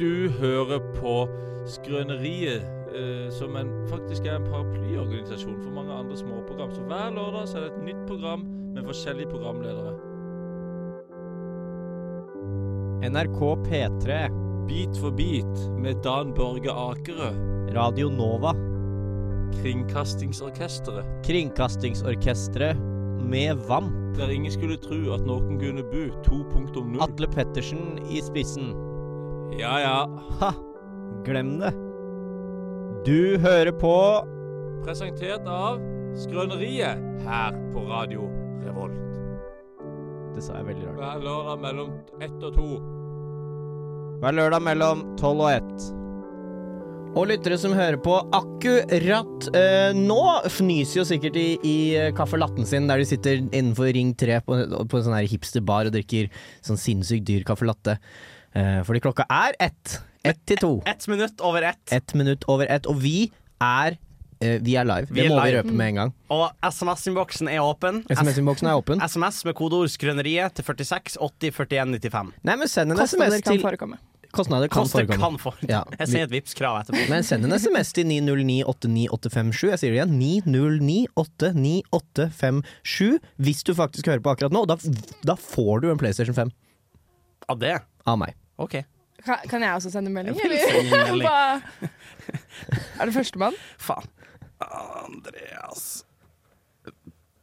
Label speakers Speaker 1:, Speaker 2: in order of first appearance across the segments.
Speaker 1: Du hører på Skrøneriet, eh, som en, faktisk er en paraplyorganisasjon for mange andre småprogram. Så hver lørdag så er det et nytt program med forskjellige programledere.
Speaker 2: NRK P3,
Speaker 1: Bit for bit med Dan Børge Akerø,
Speaker 2: Radio Nova,
Speaker 1: Kringkastingsorkesteret.
Speaker 2: Kringkastingsorkestret med VAM,
Speaker 1: Der ingen skulle tro at noen kunne bu 2.0.
Speaker 2: Atle Pettersen i spissen.
Speaker 1: Ja, ja.
Speaker 2: Ha! Glem det. Du hører på
Speaker 1: Presentert av Skrøneriet her på Radio Revolt.
Speaker 2: Det sa jeg veldig rart.
Speaker 1: Hver lørdag mellom ett og to.
Speaker 2: Hver lørdag mellom 12 og 1. Og lyttere som hører på akkurat eh, nå, fnyser jo sikkert i, i eh, caffè latten sin, der de sitter innenfor Ring 3 på, på en sånn her hipsterbar og drikker sånn sinnssykt dyr caffè latte. Eh, fordi klokka er ett. Ett til to.
Speaker 3: Ett minutt over ett.
Speaker 2: Ett minutt over ett. Og vi er eh, Vi er live.
Speaker 3: Vi
Speaker 2: det
Speaker 3: er
Speaker 2: må vi
Speaker 3: live. Mm.
Speaker 2: røpe med en gang.
Speaker 3: Og SMS-innboksen er åpen.
Speaker 2: SMS-innboksen er åpen.
Speaker 3: SMS med kodeord 'skrøneriet' til 46 80 41 95.
Speaker 2: Nei, men send en
Speaker 4: Kostnader
Speaker 2: SMS
Speaker 4: kan
Speaker 2: til
Speaker 4: forekomme.
Speaker 2: Kostnader kan
Speaker 3: Koster
Speaker 2: forekomme.
Speaker 3: kan få
Speaker 2: Ja,
Speaker 3: Jeg
Speaker 2: vi-
Speaker 3: sier et Vipps-krav etterpå.
Speaker 2: Men send en SMS til 909-89857. Jeg sier det igjen. 909-89857 hvis du faktisk hører på akkurat nå. Da, da får du en PlayStation 5
Speaker 3: Av det?
Speaker 2: av meg.
Speaker 3: OK.
Speaker 4: Ka- Kan jeg også sende melding,
Speaker 3: Jeg vil
Speaker 4: eller?
Speaker 3: sende en melding.
Speaker 4: Hva- er det førstemann?
Speaker 3: sånn Faen. Andreas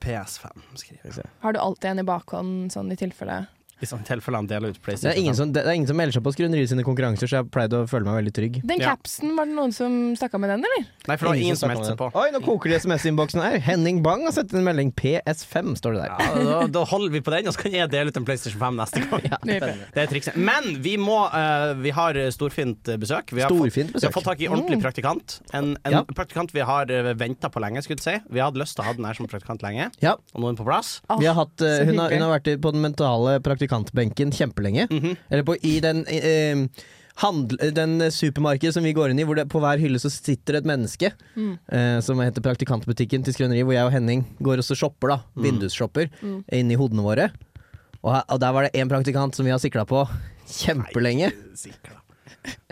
Speaker 3: PS5, skriver jeg.
Speaker 4: Har du alltid en i bakhånd, sånn i tilfelle?
Speaker 3: I sånn tilfelle han deler ut
Speaker 2: Det
Speaker 3: PlayStation.
Speaker 2: er ingen som, det er ingen som melder seg på Skrøneriet sine konkurranser, så jeg pleide å føle meg veldig trygg.
Speaker 4: Den
Speaker 3: Ja.
Speaker 4: capsen, var det noen som snakka med den, eller?
Speaker 3: Nei, for det var ingen som meldte seg på.
Speaker 2: Oi, nå koker det i SMS-innboksen her. Henning Bang har sett en melding. PS5 står det der.
Speaker 3: Ja, da, da holder vi på den, og så kan jeg dele ut en PlayStation 5 neste gang.
Speaker 4: Nydelig.
Speaker 3: Det er trikset. Men vi må eh, Vi har storfint besøk. Vi har fått-
Speaker 2: Storfint
Speaker 3: Vi har
Speaker 2: besøk. Mm.
Speaker 3: fått tak i ordentlig praktikant. En, en
Speaker 2: Ja.
Speaker 3: praktikant vi har venta på lenge. skulle jeg si Vi hadde lyst til å ha den her som praktikant lenge,
Speaker 2: Ja,
Speaker 3: og nå er den på plass.
Speaker 4: Åh,
Speaker 2: vi har hatt,
Speaker 4: Ah, så
Speaker 2: eh, hun, har,
Speaker 4: hyggelig.
Speaker 2: hun har vært i- på den mentale praktikantbenken kjempelenge. Eller på, i den eh, handl- den supermarkedet som vi går inn i, hvor det på hver hylle så sitter det et menneske.
Speaker 4: Mm.
Speaker 2: eh, som heter Praktikantbutikken til Skrøneri, hvor jeg og Henning går også shopper. da Vindusshopper
Speaker 4: Mm.
Speaker 2: inni hodene våre. Og, her, og der var det én praktikant som vi har sikla på kjempelenge.
Speaker 3: Sikla.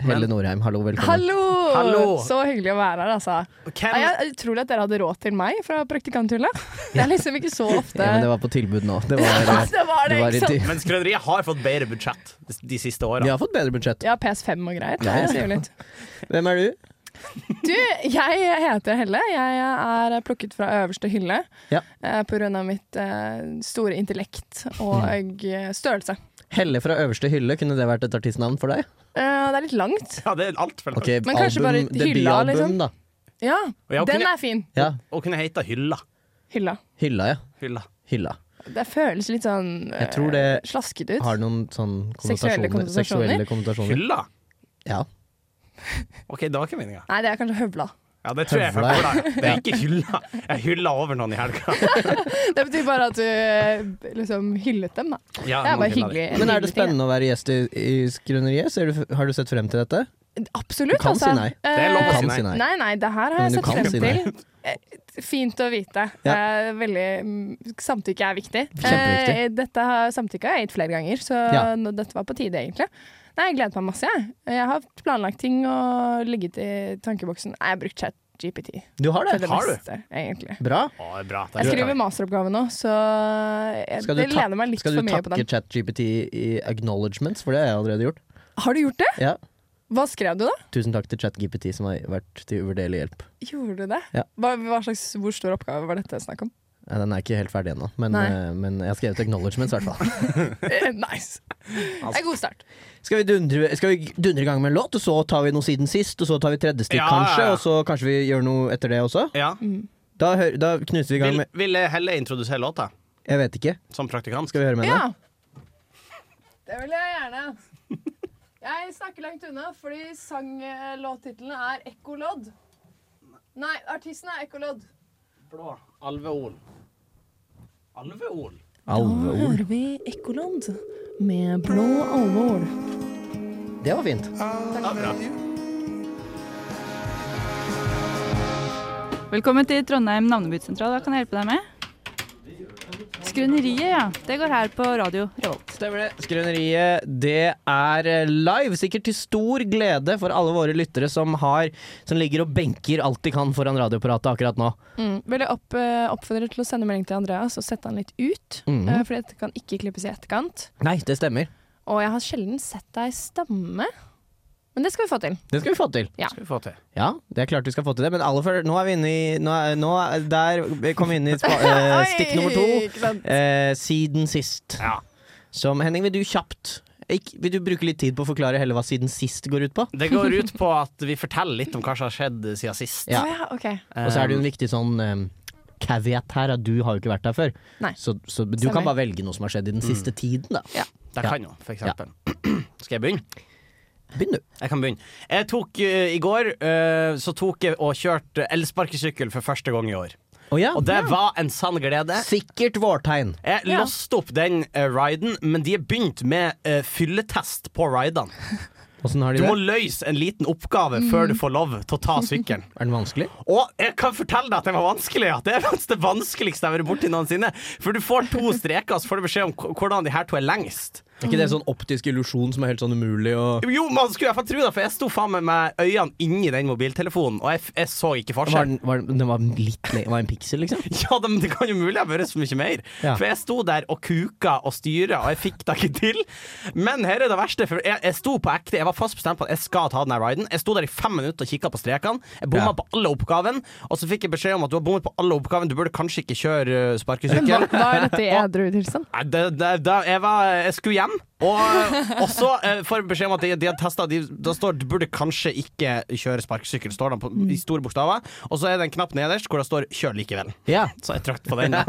Speaker 2: Helle Norheim, hallo, velkommen.
Speaker 4: Hallo!
Speaker 3: Hallo!
Speaker 4: Så hyggelig å være her, altså. Nei,
Speaker 3: Hvem,
Speaker 4: Jeg er utrolig at dere hadde råd til meg fra praktikanthullet. Det er liksom ikke så ofte.
Speaker 2: Ja, men det var på tilbud nå. Det var, eh,
Speaker 4: det var Altså, det,
Speaker 2: det var
Speaker 4: ikke sant?
Speaker 2: i-
Speaker 3: men Skrøneriet har fått bedre budsjett de, de siste
Speaker 2: vi
Speaker 3: åra.
Speaker 2: har fått bedre budsjett.
Speaker 4: Ja, PS5 og greier.
Speaker 2: Ja,
Speaker 4: Nei,
Speaker 2: ja.
Speaker 4: jeg sier jo litt.
Speaker 2: Hvem er du?
Speaker 4: Du, jeg heter Helle. Jeg er plukket fra øverste hylle
Speaker 2: Ja.
Speaker 4: eh, på grunn av mitt eh, store intellekt
Speaker 2: Mm.
Speaker 4: og eh, størrelse.
Speaker 2: Helle fra øverste hylle, kunne det vært et artistnavn for deg?
Speaker 4: Eh, det er litt langt.
Speaker 3: Ja, det er altfor langt.
Speaker 2: Ok,
Speaker 4: Men kanskje bare
Speaker 2: album,
Speaker 4: et hylla,
Speaker 2: debutalbum,
Speaker 4: liksom?
Speaker 2: da.
Speaker 4: Ja,
Speaker 3: Ja, ok,
Speaker 4: den
Speaker 3: ja.
Speaker 4: er fin.
Speaker 2: Ja,
Speaker 3: Å kunne hete Hylla.
Speaker 4: Hylla.
Speaker 2: hylla, ja.
Speaker 3: Hylla.
Speaker 2: Hylla.
Speaker 4: Det føles litt sånn
Speaker 2: Jeg tror det
Speaker 4: eh, slasket ut.
Speaker 2: Har noen sånn konnotasjoner.
Speaker 4: Seksuelle konnotasjoner?
Speaker 2: Seksuelle konnotasjoner.
Speaker 3: Hylla?
Speaker 2: Ja.
Speaker 3: OK, det var ikke meninga.
Speaker 4: Nei, det er kanskje høvla.
Speaker 3: Ja, det tror jeg jeg
Speaker 2: Høvla.
Speaker 3: høvla. Det er ikke hylla. Jeg hylla over noen i helga.
Speaker 4: Det betyr bare at du eh, liksom hyllet dem, da.
Speaker 3: Ja, noen
Speaker 4: Det er
Speaker 3: hylla de.
Speaker 4: bare hyggelig.
Speaker 2: Men er
Speaker 4: en hyggelig
Speaker 2: det
Speaker 4: ting,
Speaker 2: spennende å være gjest i, i Skrøneriet? Ser du, har du sett frem til dette?
Speaker 4: ja. Absolutt,
Speaker 2: Du kan si
Speaker 4: altså.
Speaker 2: nei.
Speaker 4: Eh,
Speaker 3: Det er lov å
Speaker 2: Kan si nei.
Speaker 4: Nei, nei, det her har
Speaker 2: Men
Speaker 4: jeg
Speaker 2: du
Speaker 4: sett
Speaker 2: kan
Speaker 4: frem
Speaker 2: si
Speaker 4: til. Eh, Fint å vite.
Speaker 2: Ja.
Speaker 4: Eh, Veldig, mm, samtykke er viktig.
Speaker 2: Kjempeviktig.
Speaker 4: Eh, Dette har- samtykket har jeg gitt flere ganger, så
Speaker 2: Ja.
Speaker 4: nå- dette var på tide, egentlig. Nei, Jeg gleder meg masse. Jeg, jeg har planlagt ting og ligget i tankeboksen. Nei, jeg har brukt chat GPT.
Speaker 2: Du har
Speaker 4: til
Speaker 2: det?
Speaker 4: det
Speaker 3: har du?
Speaker 4: meste, egentlig.
Speaker 2: Bra.
Speaker 3: Å, det er bra. Det
Speaker 4: Jeg
Speaker 3: er
Speaker 4: skriver
Speaker 3: bra.
Speaker 4: masteroppgave nå, så jeg,
Speaker 2: Skal du
Speaker 4: det
Speaker 2: ta-
Speaker 4: lener meg litt
Speaker 2: Skal
Speaker 4: for
Speaker 2: du
Speaker 4: mye på
Speaker 2: takke
Speaker 4: den.
Speaker 2: ChatGPT i acknowledgements, for det har jeg allerede gjort.
Speaker 4: Har du gjort det?
Speaker 2: Ja.
Speaker 4: Hva skrev du, da?
Speaker 2: Tusen takk til ChatGPT, som har vært til uvurderlig hjelp.
Speaker 4: Gjorde du det?
Speaker 2: Ja.
Speaker 4: Hva, hva slags, hvor stor oppgave var dette snakk om?
Speaker 2: Ja, Den er ikke helt ferdig ennå, men,
Speaker 4: Nei.
Speaker 2: eh, men jeg har skrevet acknowledgements, i hvert fall.
Speaker 4: Eh, nice.
Speaker 2: Altså-
Speaker 4: Det er god start.
Speaker 2: Skal vi, dundre, skal vi dundre i gang med en låt, og så tar vi noe siden sist, og så tar vi tredje stikk
Speaker 3: Ja,
Speaker 2: kanskje,
Speaker 3: ja, ja.
Speaker 2: og så kanskje vi gjør noe etter det også?
Speaker 3: Ja.
Speaker 2: Da, hø- da knuser vi i gang
Speaker 3: Vil,
Speaker 2: med
Speaker 3: vil Helle introdusere låta
Speaker 2: Jeg vet ikke.
Speaker 3: som praktikant?
Speaker 2: Skal vi høre med henne?
Speaker 4: Ja. Det vil jeg gjerne. Jeg snakker langt unna, fordi sanglåttitlene er Ekkolodd. Nei, artisten er Ekkolodd.
Speaker 3: Blå. Alveol. Alveol?
Speaker 2: Alveol.
Speaker 4: vi Ekkolodd med blå alvor.
Speaker 2: Det var fint.
Speaker 3: Ja, bra.
Speaker 5: Velkommen til Trondheim navnebyttesentral. Hva kan jeg hjelpe deg med? Skrøneriet, ja. Det går her på radio Revolt.
Speaker 2: Stemmer det. Skrøneriet, det er eh, live. Sikkert til stor glede for alle våre lyttere som, har, som ligger og benker alt de kan foran radioapparatet akkurat nå.
Speaker 4: Mm. Vil jeg opp, eh, oppfordre til å sende melding til Andreas og sette han litt ut.
Speaker 2: Mhm.
Speaker 4: eh, fordi dette kan ikke klippes i etterkant.
Speaker 2: Nei, det stemmer.
Speaker 4: Og jeg har sjelden sett deg stamme. Men det skal vi få til.
Speaker 2: Det skal vi få til.
Speaker 3: Skal vi få til.
Speaker 2: Ja, det er klart vi skal få til det, men aller før Nå er vi inne i nå er, nå er, Der kom vi inn i spa, eh, stikk nummer to.
Speaker 4: Ikke sant?
Speaker 2: Eh, siden sist. Som Henning, vil du kjapt ikk- Vil du bruke litt tid på å forklare heller hva siden sist går ut på?
Speaker 3: Det går ut på at vi forteller litt om hva som har skjedd siden sist. Um,
Speaker 2: Ja.
Speaker 4: Å ja, ok.
Speaker 2: Og så er det jo en viktig sånn eh, caveat her, at du har jo ikke vært her før.
Speaker 4: Nei.
Speaker 2: Så, så du
Speaker 4: Stemmer.
Speaker 2: kan bare velge noe som har skjedd i den siste tiden, da.
Speaker 3: Det kan jo, for eksempel. Skal jeg begynne?
Speaker 2: Begynn du.
Speaker 3: Jeg kan begynne. Jeg tok eh, I går eh, så tok jeg og kjørte elsparkesykkel for første gang i år.
Speaker 2: Å ja. Eh.
Speaker 3: Og det var en sann glede.
Speaker 2: Sikkert vårtegn.
Speaker 3: Jeg
Speaker 4: Ja.
Speaker 3: låste opp den eh, riden, men de har begynt med eh, fylletest på ridene.
Speaker 2: Åssen har de
Speaker 3: Du
Speaker 2: det?
Speaker 3: må løse en liten oppgave før du får lov til å ta sykkelen.
Speaker 2: Er den vanskelig?
Speaker 3: Og jeg kan fortelle deg at det var vanskelig. Ja. Det er faktisk det vanskeligste jeg har vært borti noensinne. For du får to streker, så får du beskjed om k- hvordan de her to er lengst.
Speaker 2: Er ikke det sånn optisk illusjon som er helt sånn umulig å
Speaker 3: Jo, man skulle i hvert fall tro det, for jeg sto faen meg med øynene inni den mobiltelefonen, og jeg, f- jeg så ikke
Speaker 2: var
Speaker 3: forskjell.
Speaker 2: den, var den, den var litt le- var en piksel, liksom?
Speaker 3: Ja, det, men det kan jo mulig ha vært så mye mer.
Speaker 2: Ja.
Speaker 3: For jeg sto der og kuka og styra, og jeg fikk det ikke til. Men her er det verste, for jeg, jeg sto på ekte. Jeg var fast bestemt på at jeg skal ta den her riden. Jeg sto der i fem minutter og kikka på strekene. Jeg bomma
Speaker 2: Ja.
Speaker 3: på alle oppgavene, og så fikk jeg beskjed om at du har bommet på alle oppgavene, du burde kanskje ikke kjøre eh, sparkesykkel.
Speaker 4: Da er dette i edru tilstand.
Speaker 3: Nei, det, det, det, jeg, var, jeg skulle hjem, og, og så eh, får jeg beskjed om at de, de har testa de, Da står du burde kanskje ikke kjøre sparkesykkel, står det på, i store bokstaver. Og så er det en knapp nederst hvor det står 'kjør likevel'.
Speaker 2: Ja.
Speaker 3: Så jeg trykte på den.
Speaker 4: Er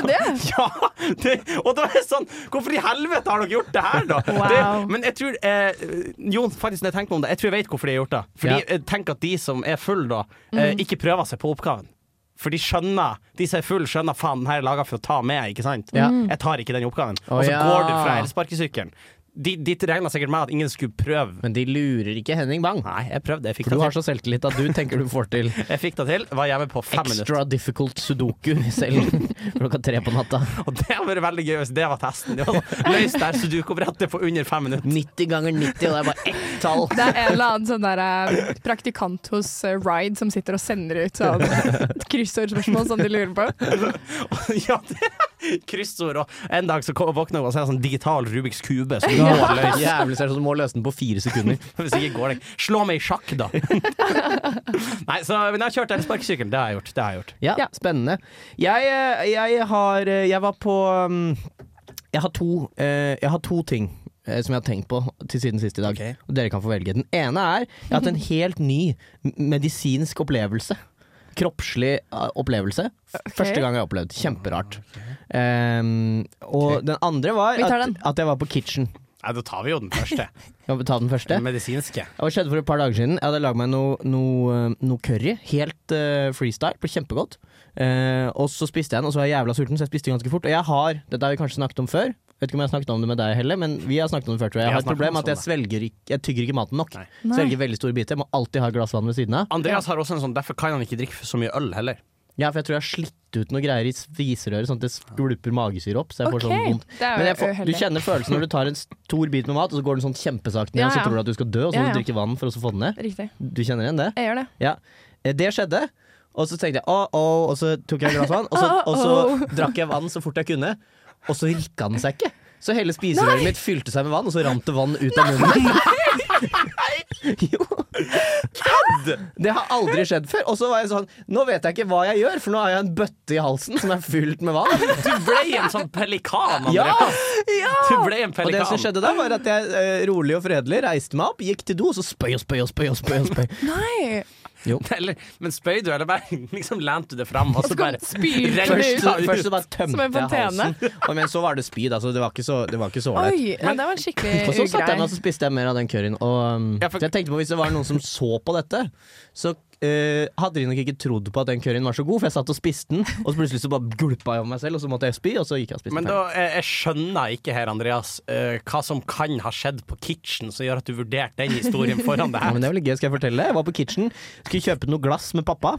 Speaker 4: det det?
Speaker 3: Ja! Det, og da er det sånn Hvorfor i helvete har dere gjort det her, da?
Speaker 5: Wow.
Speaker 3: Det, men jeg tror eh, Jon, faktisk, når jeg tenker meg om det, jeg tror jeg vet hvorfor de har gjort det. Fordi
Speaker 2: Ja. Mm.
Speaker 3: jeg tenker at de som er full da, eh, ikke prøver seg på oppgaven. For de skjønner De som er full skjønner faen, den her er laga for å ta med, ikke sant?
Speaker 2: Ja.
Speaker 3: Jeg tar ikke den oppgaven.
Speaker 2: Å,
Speaker 3: og så
Speaker 2: ja.
Speaker 3: går du fra elsparkesykkelen. De, de regna sikkert med at ingen skulle prøve.
Speaker 2: Men de lurer ikke Henning Bang.
Speaker 3: Nei, jeg prøvde. Jeg fikk
Speaker 2: For
Speaker 3: det
Speaker 2: du har
Speaker 3: til.
Speaker 2: så selvtillit at du tenker du får til
Speaker 3: Jeg fikk det til. Var hjemme på fem minutter.
Speaker 2: extra difficult sudoku selv klokka tre på natta.
Speaker 3: Og det hadde vært veldig gøy hvis det var testen. Det var sånn, Løs der sudoku-brettet på under fem minutter.
Speaker 2: 90 ganger 90, og det er bare ett tall.
Speaker 4: Det er en eller annen sånn der, eh, praktikant hos eh, Ride som sitter og sender ut sånn et kryssordspørsmål som de lurer på.
Speaker 3: Ja, det kryssord. Og en dag så kom, våkner hun og sier sånn digital Rubiks kube. Så du må løse.
Speaker 2: Jævlig seriøst, du må løse den på fire sekunder.
Speaker 3: Hvis ikke går det ikke. Slå meg i sjakk, da. Nei, så, men jeg har kjørt elsparkesykkel. Det har jeg gjort. Det har jeg gjort.
Speaker 2: Ja,
Speaker 4: Ja.
Speaker 2: spennende. Jeg, eh, jeg har eh, Jeg var på um, jeg, har to, eh, jeg har to ting eh, som jeg har tenkt på til siden sist i dag.
Speaker 3: Ok.
Speaker 2: Og dere kan få velge. Den ene er jeg har hatt
Speaker 4: Mhm.
Speaker 2: en helt ny m- medisinsk opplevelse. Kroppslig eh, opplevelse. F- Første gang jeg har opplevd. Kjemperart. Ehm, og den andre var
Speaker 4: Vi tar
Speaker 2: at,
Speaker 4: den.
Speaker 2: at jeg var på kitchen.
Speaker 3: Nei, da tar vi jo den første.
Speaker 2: Jeg må ta den første.
Speaker 3: Den medisinske.
Speaker 2: Det skjedde for et par dager siden. Jeg hadde lagd meg noe noe, eh, noe curry. Helt eh, freestyle. Ble kjempegodt. Eh, og så spiste jeg den, og så var jeg jævla sulten, så jeg spiste ganske fort. Og jeg har, dette har vi kanskje snakket om før, vet ikke om jeg har snakket om det med deg heller, men vi har snakket om det før, tror jeg.
Speaker 3: Vi
Speaker 2: Jeg
Speaker 3: har
Speaker 2: har et
Speaker 3: snakket
Speaker 2: problem
Speaker 3: om
Speaker 2: med at jeg svelger ikke, jeg tygger ikke maten nok.
Speaker 3: Nei.
Speaker 2: Svelger veldig store biter. Jeg må alltid ha et glass vann ved siden av.
Speaker 3: Andreas har også en sånn derfor kan han ikke drikke så mye øl heller.
Speaker 2: Ja, for jeg tror jeg har slitt ut noe greier i spiserøret, sånn at det skvulper magesyre opp. Så jeg får sånn vondt.
Speaker 4: det
Speaker 2: Men
Speaker 4: er
Speaker 2: jeg
Speaker 4: jo
Speaker 2: får, du
Speaker 4: uheldig.
Speaker 2: kjenner følelsen når du tar en stor bit med mat, og så går den sånn kjempesakte ned,
Speaker 4: Ja,
Speaker 2: og så
Speaker 4: ja.
Speaker 2: tror du at du skal dø, og så må
Speaker 4: Ja,
Speaker 2: du
Speaker 4: ja.
Speaker 2: drikke vann for å så få den ned.
Speaker 4: Riktig.
Speaker 2: Du kjenner igjen det?
Speaker 4: Jeg gjør det.
Speaker 2: Ja, Eh, det skjedde. Og så tenkte jeg åh, åh, og så tok jeg et glass vann, og så, og så drakk jeg vann så fort jeg kunne. Og så rikka den seg ikke. Så hele spiserøret mitt fylte seg med vann, og så rant det vann ut av munnen. jo. Det har aldri skjedd før. Og så var jeg sånn Nå vet jeg ikke hva jeg gjør, for nå har jeg en bøtte i halsen som er fylt med vann.
Speaker 3: Du ble en sånn pelikan,
Speaker 2: Ja!
Speaker 3: Andreas. Du ble en
Speaker 2: Og det som
Speaker 3: pelikan.
Speaker 2: skjedde da, var at jeg eh, rolig og fredelig reiste meg opp, gikk til do, og så spøy og spøy og spøy. og spøy, og spøy.
Speaker 4: Nei!
Speaker 3: Eller, men spøy du, eller bare liksom lente du det fram, og
Speaker 4: Og
Speaker 3: så
Speaker 4: så kom
Speaker 3: bare
Speaker 4: spyr
Speaker 3: Rent
Speaker 2: Først, så,
Speaker 3: ut.
Speaker 2: først så bare tømte
Speaker 4: Som en
Speaker 2: jeg halsen.
Speaker 4: fontene.
Speaker 2: Og, men så var det spyd, altså. Det var ikke så- det var ikke så ålreit.
Speaker 4: Oi, ja, det var en skikkelig
Speaker 2: Og så satt jeg meg og
Speaker 4: ugrei.
Speaker 2: så spiste jeg mer av den curryen. Og um,
Speaker 3: Ja, for-
Speaker 2: så jeg tenkte på hvis det var noen som så på dette, så eh, hadde de nok ikke trodd på at den curryen var så god, for jeg satt og spiste den, og så plutselig så bare gulpa jeg over meg selv, og så måtte jeg spy, og så gikk jeg og spiste
Speaker 3: Men
Speaker 2: den.
Speaker 3: da, jeg, jeg skjønner ikke her, Andreas, eh, hva som kan ha skjedd på Kitchen som gjør at du vurderte den historien foran deg.
Speaker 2: Ja, men det er veldig gøy, skal jeg fortelle. Jeg var på kitchen, skulle kjøpe noe glass med pappa.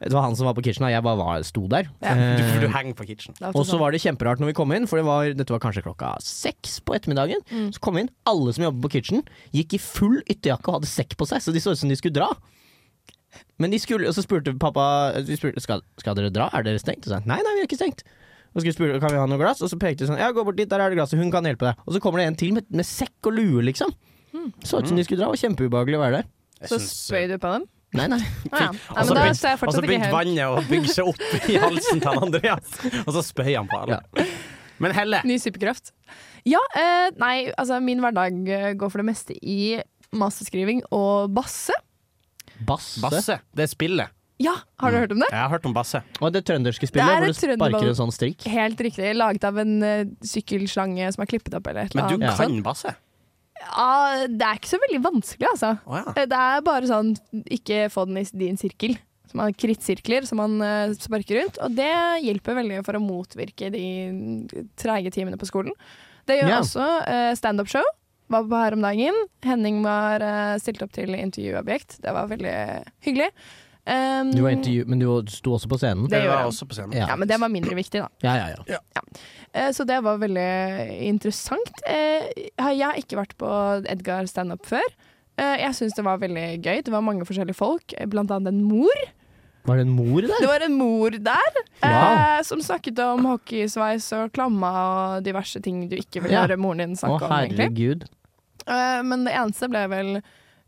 Speaker 2: Det var han som var på kitchen, og jeg bare var, sto der.
Speaker 5: Ja.
Speaker 3: Du,
Speaker 2: Eh,
Speaker 3: for du henger på Kitchen.
Speaker 5: Det er ofte
Speaker 2: og så
Speaker 5: sånn.
Speaker 2: var det kjemperart når vi kom inn, for det var, dette var kanskje klokka seks på ettermiddagen.
Speaker 4: Mm.
Speaker 2: Så kom vi inn, alle som jobber på kitchen, gikk i full ytterjakke og hadde sekk på seg, så de så ut som de skulle dra. Men de skulle, og så spurte pappa vi spurte, skal, skal dere dra, er dere stengt? Og så sa han, nei, nei, vi er ikke stengt. Og så skulle vi spørre, kan vi ha noe glass? Og så pekte de sånn, ja, gå bort dit, der er det glasset, hun kan hjelpe deg. Og så kommer det en til med, med sekk og lue, liksom.
Speaker 4: Hmm.
Speaker 2: Så ut som de skulle dra, og kjempeubehagelig å være der.
Speaker 4: Så spøy du på dem?
Speaker 2: Nei, nei.
Speaker 4: Å ja. Nei,
Speaker 3: Og så
Speaker 4: men da
Speaker 3: begynte-
Speaker 4: ser jeg
Speaker 3: Og så
Speaker 4: fortsatt ikke
Speaker 3: begynte
Speaker 4: helt.
Speaker 3: vannet å bygge seg opp i halsen til han Andreas, og så spøy han på alle. Men Helle,
Speaker 4: Ny superkraft. Ja, eh, nei, altså min hverdag eh, går for det meste i masterskriving og basse.
Speaker 2: Basse.
Speaker 3: Basse, det er spillet.
Speaker 4: Ja,
Speaker 3: Mm.
Speaker 4: har du hørt om det?
Speaker 3: Jeg har hørt om Basse.
Speaker 2: Og det trønderske
Speaker 4: Det er
Speaker 2: spillet hvor
Speaker 4: et
Speaker 2: du sparker
Speaker 4: trønderball-
Speaker 2: en sånn strikk.
Speaker 4: Helt riktig. Laget av en eh, sykkelslange som er klippet opp eller et
Speaker 3: Men
Speaker 4: eller
Speaker 3: du
Speaker 4: annet.
Speaker 3: kan Basse?
Speaker 4: Ja, det er ikke så veldig vanskelig, altså.
Speaker 3: Å ja.
Speaker 4: Eh, Det er bare sånn ikke få den i din sirkel. Så man har krittsirkler som man eh, sparker rundt, og det hjelper veldig for å motvirke de treige timene på skolen. Det gjør
Speaker 2: Ja.
Speaker 4: også eh, standup-show. Var på her om dagen. Henning var eh, stilt opp til intervjuobjekt. Det var veldig hyggelig. Um,
Speaker 2: Du var intervju, men du sto også på scenen.
Speaker 4: Det
Speaker 3: Det
Speaker 4: gjør
Speaker 3: var
Speaker 4: jeg.
Speaker 3: også på scenen.
Speaker 2: Ja.
Speaker 4: Ja, men det var mindre viktig, da.
Speaker 2: Ja, ja, ja.
Speaker 4: Eh, Så det var veldig interessant. Eh, har- Jeg har ikke vært på Edgar standup før. Eh, Jeg syns det var veldig gøy. Det var mange forskjellige folk, eh, blant annet en mor.
Speaker 2: Var det en mor
Speaker 4: Det
Speaker 2: der?
Speaker 4: var en mor der
Speaker 2: Wow.
Speaker 4: eh, som snakket om hockeysveis og klamma og diverse ting du ikke vil
Speaker 2: Ja.
Speaker 4: høre moren din
Speaker 2: Å,
Speaker 4: snakke om. egentlig.
Speaker 2: herregud.
Speaker 4: Eh, Men det eneste ble vel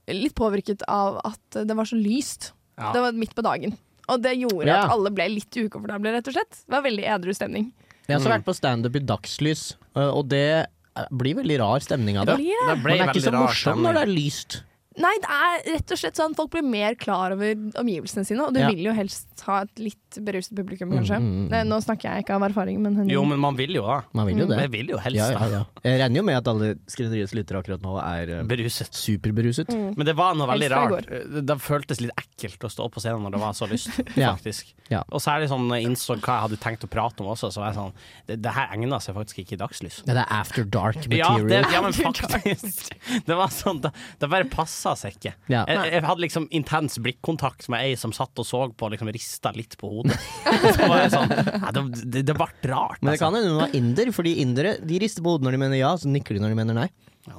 Speaker 4: litt påvirket av at det var så lyst.
Speaker 3: Ja.
Speaker 4: Det var midt på dagen. Og det gjorde
Speaker 2: Ja.
Speaker 4: at alle ble litt ukomfortable, rett og slett. Det var veldig edru stemning.
Speaker 2: Jeg har også vært på standup i dagslys, eh, og det blir veldig rar stemning av
Speaker 3: Det,
Speaker 2: det.
Speaker 4: blir-
Speaker 3: det ble
Speaker 2: Man er ikke
Speaker 3: veldig
Speaker 2: så
Speaker 3: rar
Speaker 2: morsom
Speaker 3: stemning.
Speaker 2: når det er lyst.
Speaker 4: Nei, det er rett og slett sånn folk blir mer klar over omgivelsene sine, og du
Speaker 2: Ja.
Speaker 4: vil jo helst ha et litt beruset publikum,
Speaker 2: Mm,
Speaker 4: kanskje.
Speaker 2: mm, mm.
Speaker 4: Nei, Nå snakker jeg ikke av erfaring, men
Speaker 3: Jo, men man vil jo da.
Speaker 2: Man
Speaker 4: Mm.
Speaker 2: vil jo det.
Speaker 3: Jeg vil jo helst
Speaker 2: Ja, ja,
Speaker 3: da.
Speaker 2: ja. Jeg regner jo med at alle Skrøneriets lyttere akkurat nå er eh,
Speaker 3: Beruset.
Speaker 2: superberuset.
Speaker 4: Mm.
Speaker 3: Men det var noe veldig
Speaker 4: Helst fra i
Speaker 3: rart. Eh, Det føltes litt ekkelt å stå på scenen når det var så lyst,
Speaker 2: Ja.
Speaker 3: faktisk.
Speaker 2: Ja.
Speaker 3: Og særlig sånn når jeg innså hva jeg hadde tenkt å prate om også, så var jeg sånn Det, det her egner seg faktisk ikke i dagslys.
Speaker 2: Ja, det er after dark
Speaker 3: Ja, det,
Speaker 2: material.
Speaker 3: ja, men faktisk. Det var sånn, det, det bare passa seg ikke.
Speaker 2: Ja.
Speaker 3: Jeg, jeg hadde liksom intens blikkontakt med ei som satt og så på og liksom rista litt på hodet. Og så var jeg sånn ja, Det, det, det ble rart.
Speaker 2: Men det
Speaker 3: altså.
Speaker 2: kan hende hun var inder, fordi indere de rister på hodet når de mener ja, så nikker de når de mener nei.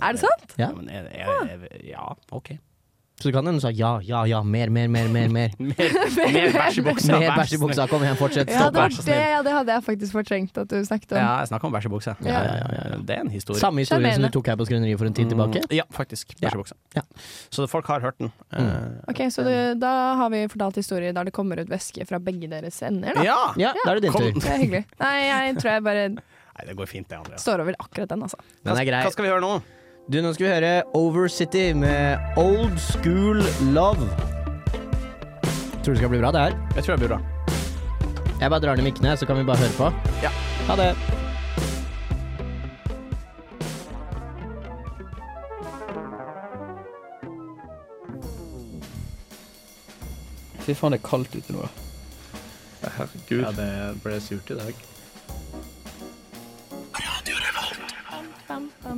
Speaker 4: Er det sant?
Speaker 2: Ja.
Speaker 3: Ja, men jeg, jeg, jeg, ja OK.
Speaker 2: Så det kan hende hun sa ja, ja, ja, mer, mer, mer, mer. mer.
Speaker 3: Mer, mer bæsj i buksa.
Speaker 2: Mer
Speaker 3: vær
Speaker 2: bæsj i
Speaker 3: så snill.
Speaker 2: buksa, kom igjen, fortsett.
Speaker 4: Ja,
Speaker 2: Stopp.
Speaker 4: det, var
Speaker 3: vær så
Speaker 4: det,
Speaker 3: snill.
Speaker 4: ja, det hadde jeg faktisk fortrengt at du snakket om.
Speaker 3: Ja, jeg snakker om bæsj i buksa.
Speaker 4: Liksom. Ja,
Speaker 2: ja, ja,
Speaker 3: Det er en historie.
Speaker 2: Samme historie som
Speaker 4: Sjarmerende.
Speaker 2: du tok her på Skrøneriet for en tid tilbake.
Speaker 3: Mm, Ja, faktisk.
Speaker 2: Ja.
Speaker 3: Bæsj i buksa.
Speaker 2: Ja.
Speaker 3: Så folk har hørt den. Eh,
Speaker 4: Ok, Så du, da har vi fortalt historier der det kommer ut væske fra begge deres ender, da.
Speaker 3: ja!
Speaker 2: Mm. Ja, da er det
Speaker 3: Kom.
Speaker 2: din tur.
Speaker 4: Det er hyggelig. Nei, jeg tror jeg bare
Speaker 3: Nei, det går fint, det, Andreas.
Speaker 4: står over akkurat den, altså.
Speaker 2: Den
Speaker 3: Hva-
Speaker 2: er grei.
Speaker 3: Hva skal vi høre nå?
Speaker 2: Du, nå skal vi høre Over City med Old School Love. Tror det skal bli bra, det her.
Speaker 3: Jeg tror jeg blir bra.
Speaker 2: Jeg bare drar ned mikkene, så kan vi bare høre på.
Speaker 3: Ja.
Speaker 2: Ha det.
Speaker 6: Fy faen, det er kaldt ute nå.
Speaker 7: Herregud. Ja, det ble surt i dag.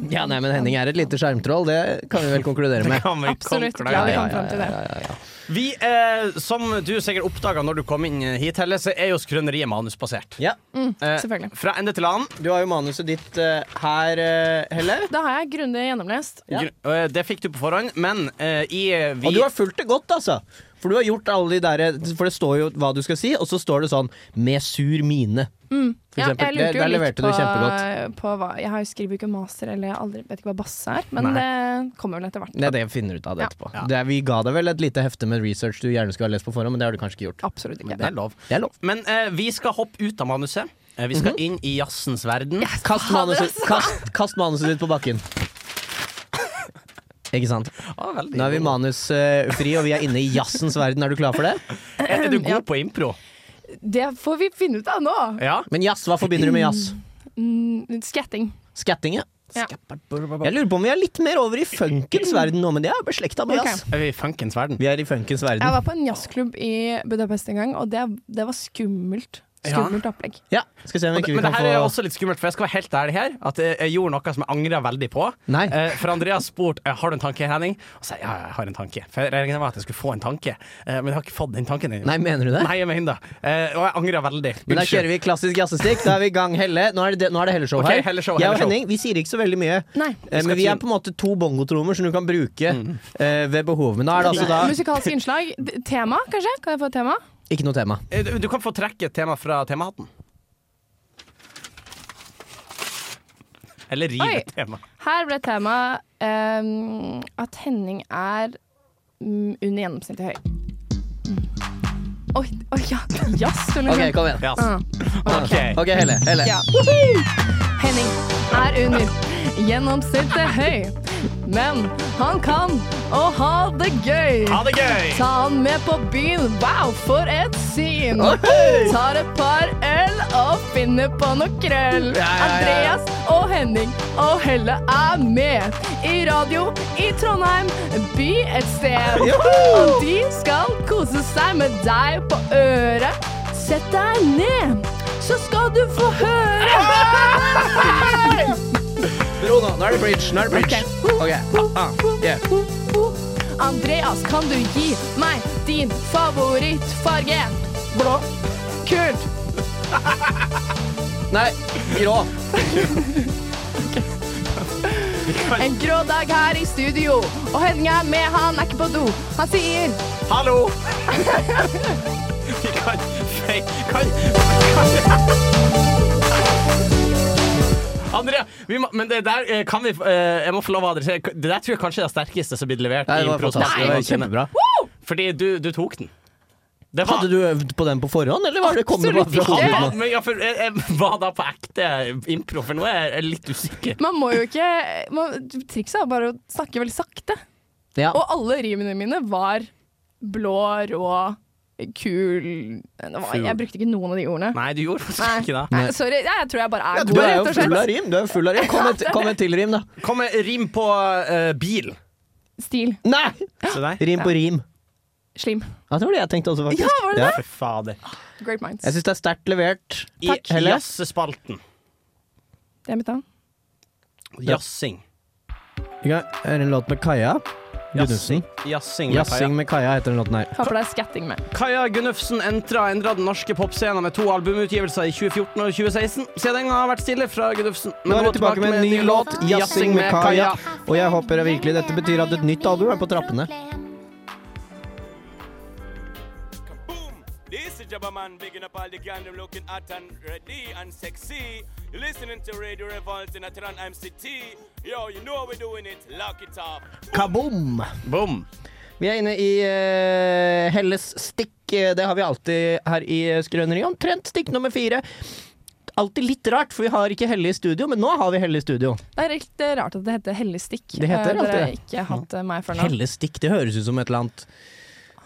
Speaker 2: Ja, nei, men Henning er et lite skjermtroll, det kan vi vel konkludere med.
Speaker 3: Kan vi
Speaker 4: Absolutt.
Speaker 3: konkludere?
Speaker 4: Ja, vi
Speaker 2: Ja,
Speaker 4: kom
Speaker 2: ja,
Speaker 4: frem til det.
Speaker 3: Vi, eh, som du sikkert oppdaga når du kom inn eh, hit, Helle, så er jo skrøneriet manusbasert.
Speaker 2: Ja,
Speaker 3: Eh,
Speaker 4: Mm, Selvfølgelig.
Speaker 3: fra ende til annen.
Speaker 2: du har jo manuset ditt eh, her, eh, Helle.
Speaker 4: Da har jeg grundig gjennomlest.
Speaker 2: Ja.
Speaker 3: Gr- eh, Det fikk du på forhånd, men eh, i eh, vi
Speaker 2: Og du har fulgt det godt, altså. For du har gjort alle de derre For det står jo hva du skal si, og så står det sånn 'med sur mine'. For
Speaker 4: Mm. Ja,
Speaker 2: eksempel.
Speaker 4: jeg
Speaker 2: Det-
Speaker 4: lurte jo
Speaker 2: der
Speaker 4: litt
Speaker 2: leverte du
Speaker 4: på, eh,
Speaker 2: kjempegodt.
Speaker 4: på hva Jeg har jo skriver jo ikke master, eller jeg aldri, vet ikke hva basse er, men
Speaker 3: Nei.
Speaker 4: det kommer vel etter hvert.
Speaker 2: Det er det jeg finner ut av det
Speaker 4: Ja.
Speaker 2: etterpå.
Speaker 3: Ja.
Speaker 2: Det er, vi ga deg vel et lite hefte med research du gjerne skulle ha lest på forhånd, men det har du kanskje ikke gjort.
Speaker 4: Absolutt ikke.
Speaker 3: Det er lov.
Speaker 2: Det er lov.
Speaker 3: Men eh, vi skal hoppe ut av manuset. Eh, vi
Speaker 2: Mhm.
Speaker 3: skal inn i jazzens verden.
Speaker 2: Kast manuset,
Speaker 3: sånn.
Speaker 2: kast, kast manuset ditt på bakken. Ikke sant.
Speaker 3: Ah, veldig
Speaker 2: Nå er vi
Speaker 3: god.
Speaker 2: manusfri, og vi er inne i jazzens verden. Er du klar for det?
Speaker 3: er, er du god på impro?
Speaker 4: Det får vi finne ut av nå.
Speaker 3: Ja.
Speaker 2: Men jazz, hva forbinder du med jazz?
Speaker 4: Mm, sketting.
Speaker 2: Skatting, ja.
Speaker 4: Ja.
Speaker 2: Jeg lurer på om vi er litt mer over i funkens verden nå, men det er beslekta med jazz.
Speaker 3: Er vi i funkens verden?
Speaker 2: Vi er i funkens
Speaker 4: Jeg
Speaker 2: verden.
Speaker 4: var på en jazzklubb i Budapest en gang, og det, det var skummelt. Skummelt opplegg.
Speaker 2: Ja, skal se om
Speaker 3: Men
Speaker 2: ikke vi
Speaker 3: det
Speaker 2: kan
Speaker 3: her er
Speaker 2: få
Speaker 3: også litt skummelt, for jeg skal være helt ærlig her. At jeg jeg gjorde noe som jeg angrer veldig på.
Speaker 2: Nei.
Speaker 3: Eh, For Andreas spurte eh, Har du en tanke, Henning. Og så sa jeg ja, jeg har en tanke. For jeg regnet med at jeg skulle få en tanke, eh, men jeg har ikke fått den tanken ennå.
Speaker 2: Nei, mener du det?
Speaker 3: Nei, jeg mener det. Eh, Og jeg angrer veldig.
Speaker 2: Men da kjører vi klassisk jazzestikk. Da er vi i gang, Helle. Nå er det, nå er det helleshow
Speaker 3: Ok,
Speaker 2: her.
Speaker 3: helleshow,
Speaker 2: Jeg og
Speaker 3: helleshow.
Speaker 2: Henning vi sier ikke så veldig mye.
Speaker 4: Nei.
Speaker 2: Eh, Men vi er på en måte to bongotrommer som du kan bruke
Speaker 3: Mm.
Speaker 2: eh, ved behov. Men da er det altså da
Speaker 4: Musikalske innslag. D- Tema, kanskje? Kan jeg få et tema?
Speaker 2: ikke noe tema.
Speaker 3: Eh, du- Du kan få trekke et tema fra temahatten. Eller rive
Speaker 4: Oi.
Speaker 3: et tema.
Speaker 4: Her ble temaet ehm, at Henning er mm, under gjennomsnittet høy. Mm. Oi, oi ja. Jazz, eller
Speaker 2: Ok,
Speaker 4: noe
Speaker 2: kom igjen.
Speaker 3: Ja, altså.
Speaker 4: sånt.
Speaker 3: OK.
Speaker 2: Ok, Helle. Helle.
Speaker 4: Ah. Ja. Henning er under gjennomsnittet høy, men han kan å ha det gøy.
Speaker 3: Ha det gøy!
Speaker 4: Ta han med på byen, wow, for et syn! Tar et par øl og finner på noe krøll. Andreas og Henning og Helle er med i radio i Trondheim by et sted. Og de skal kose seg med deg på øret. Sett deg ned, så skal du få høre.
Speaker 2: Bro, nå. Nå er det bridge. Nå er det bridge. Ok. Ah, ah. Yeah.
Speaker 4: Andreas, kan du gi meg din favorittfarge? Blå. Kult.
Speaker 2: Nei, grå.
Speaker 4: En grå dag her i studio, og Henning er med, han er ikke på do. Han sier
Speaker 3: Hallo! Vi kan fake kan, kan. Andrea, vi må, men det der eh, kan vi eh, Jeg må få lov å adressere. Det der tror jeg kanskje er det sterkeste som blir levert.
Speaker 2: Nei, det
Speaker 3: i
Speaker 2: var
Speaker 3: impro-spalten
Speaker 2: fantastisk. Det var
Speaker 3: noensinne.
Speaker 2: kjempebra.
Speaker 3: Fordi du, du tok den. Det var-
Speaker 2: Hadde du øvd på den på forhånd, eller var det kommet
Speaker 4: Absolutt
Speaker 2: bare fra
Speaker 4: ikke.
Speaker 2: hodet?
Speaker 3: Ja, men ja, for jeg, jeg var da på ekte impro, for nå er jeg litt usikker.
Speaker 4: Man må jo ikke man, Trikset er bare å snakke veldig sakte.
Speaker 2: Ja.
Speaker 4: Og alle rimene mine var blå, rå, kul det var, Jeg brukte ikke noen av de ordene.
Speaker 3: Nei, du gjorde faktisk ikke det.
Speaker 4: Nei, sorry. Nei, jeg tror jeg bare
Speaker 2: Ja,
Speaker 4: er
Speaker 2: du
Speaker 4: god,
Speaker 2: er jo
Speaker 4: rett og
Speaker 2: full av
Speaker 4: slett.
Speaker 2: rim. Du er jo full av rim. Kom et, kom et til rim, da.
Speaker 3: Kom med rim på eh, bil.
Speaker 4: Stil.
Speaker 2: Nei!
Speaker 3: Se der.
Speaker 2: Rim på rim.
Speaker 4: Slim.
Speaker 2: Ja, det var det jeg tenkte også, faktisk.
Speaker 4: Ja, var det
Speaker 3: Fy fader.
Speaker 4: Great minds.
Speaker 2: Jeg syns det er sterkt levert.
Speaker 3: I
Speaker 2: Helle.
Speaker 3: jazzespalten.
Speaker 4: Det er mitt navn.
Speaker 3: Jazzing.
Speaker 2: Vi kan høre en låt med Kaja. Gunnufsen.
Speaker 3: Jazzing. med Kaja.
Speaker 2: Jazzing med Kaja heter den låten her.
Speaker 4: Har på deg skatting med.
Speaker 3: Kaja Gunnufsen entra endra den norske popscenen med to albumutgivelser i 2014 og 2016. Siden har vært stille fra Gunnufsen. men
Speaker 2: Nå er vi tilbake med en ny låt, 'Jazzing med Kaja'. Og jeg håper virkelig dette betyr at et nytt album er på trappene.
Speaker 8: Boom! This is Jabba Man bigging up all the gang. I'm looking hot and ready and sexy. You're listening to Radio Revolt in Atran MCT. Yo, you know how we're doing it. Lock it up.
Speaker 2: Kaboom!
Speaker 3: Boom.
Speaker 2: Vi er inne i eh, Helles stikk. Eh, Det har vi alltid her i eh, Skrøneriet. Omtrent stikk nummer fire. Alltid litt rart, for vi har ikke Helle i studio, men nå har vi Helle i studio.
Speaker 4: Det er litt eh, rart at det heter hellestikk.
Speaker 2: Det heter
Speaker 4: Eh, Dere har
Speaker 2: alltid
Speaker 4: ikke hatt eh, meg før nå.
Speaker 2: Helles stikk, det høres ut som et eller annet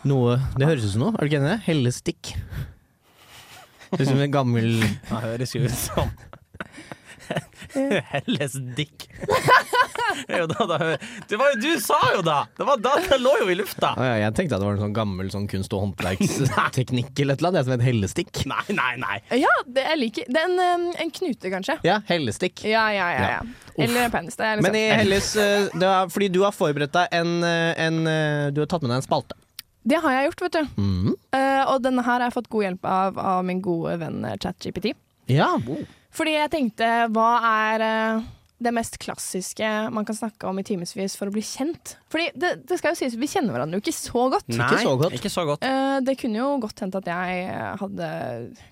Speaker 2: Noe Det høres ut som noe, er du ikke enig i det? Helles stikk. Høres ut som en gammel
Speaker 3: Det høres jo ut som Helles dick. Det er jo da- da- Det var jo du sa jo da! Det var da det lå jo i lufta.
Speaker 2: Å ja, Jeg tenkte at det var en sånn gammel sånn kunst- og håndverksteknikk eller et eller annet, det som het hellestikk.
Speaker 3: Nei, nei, nei.
Speaker 4: Ja, det, jeg liker Det er en, eh, en knute, kanskje.
Speaker 2: Ja, hellestikk.
Speaker 4: Ja, ja, ja. ja. Eller en penis. Det er liksom
Speaker 2: Men i Helles eh, det er, Fordi du har forberedt deg en, eh, en eh, Du har tatt med deg en spalte.
Speaker 4: Det har jeg gjort, vet du.
Speaker 3: Mm.
Speaker 4: Eh, og denne her har jeg fått god hjelp av av min gode venn eh, ChatGPT.
Speaker 3: Oh.
Speaker 2: Ja.
Speaker 4: Fordi jeg tenkte, hva er eh, det mest klassiske man kan snakke om i timevis for å bli kjent? Fordi det, det skal jo sies, vi kjenner hverandre jo ikke så godt.
Speaker 2: Ikke så godt.
Speaker 3: Ikke så godt.
Speaker 4: Eh, det kunne jo godt hendt at jeg eh, hadde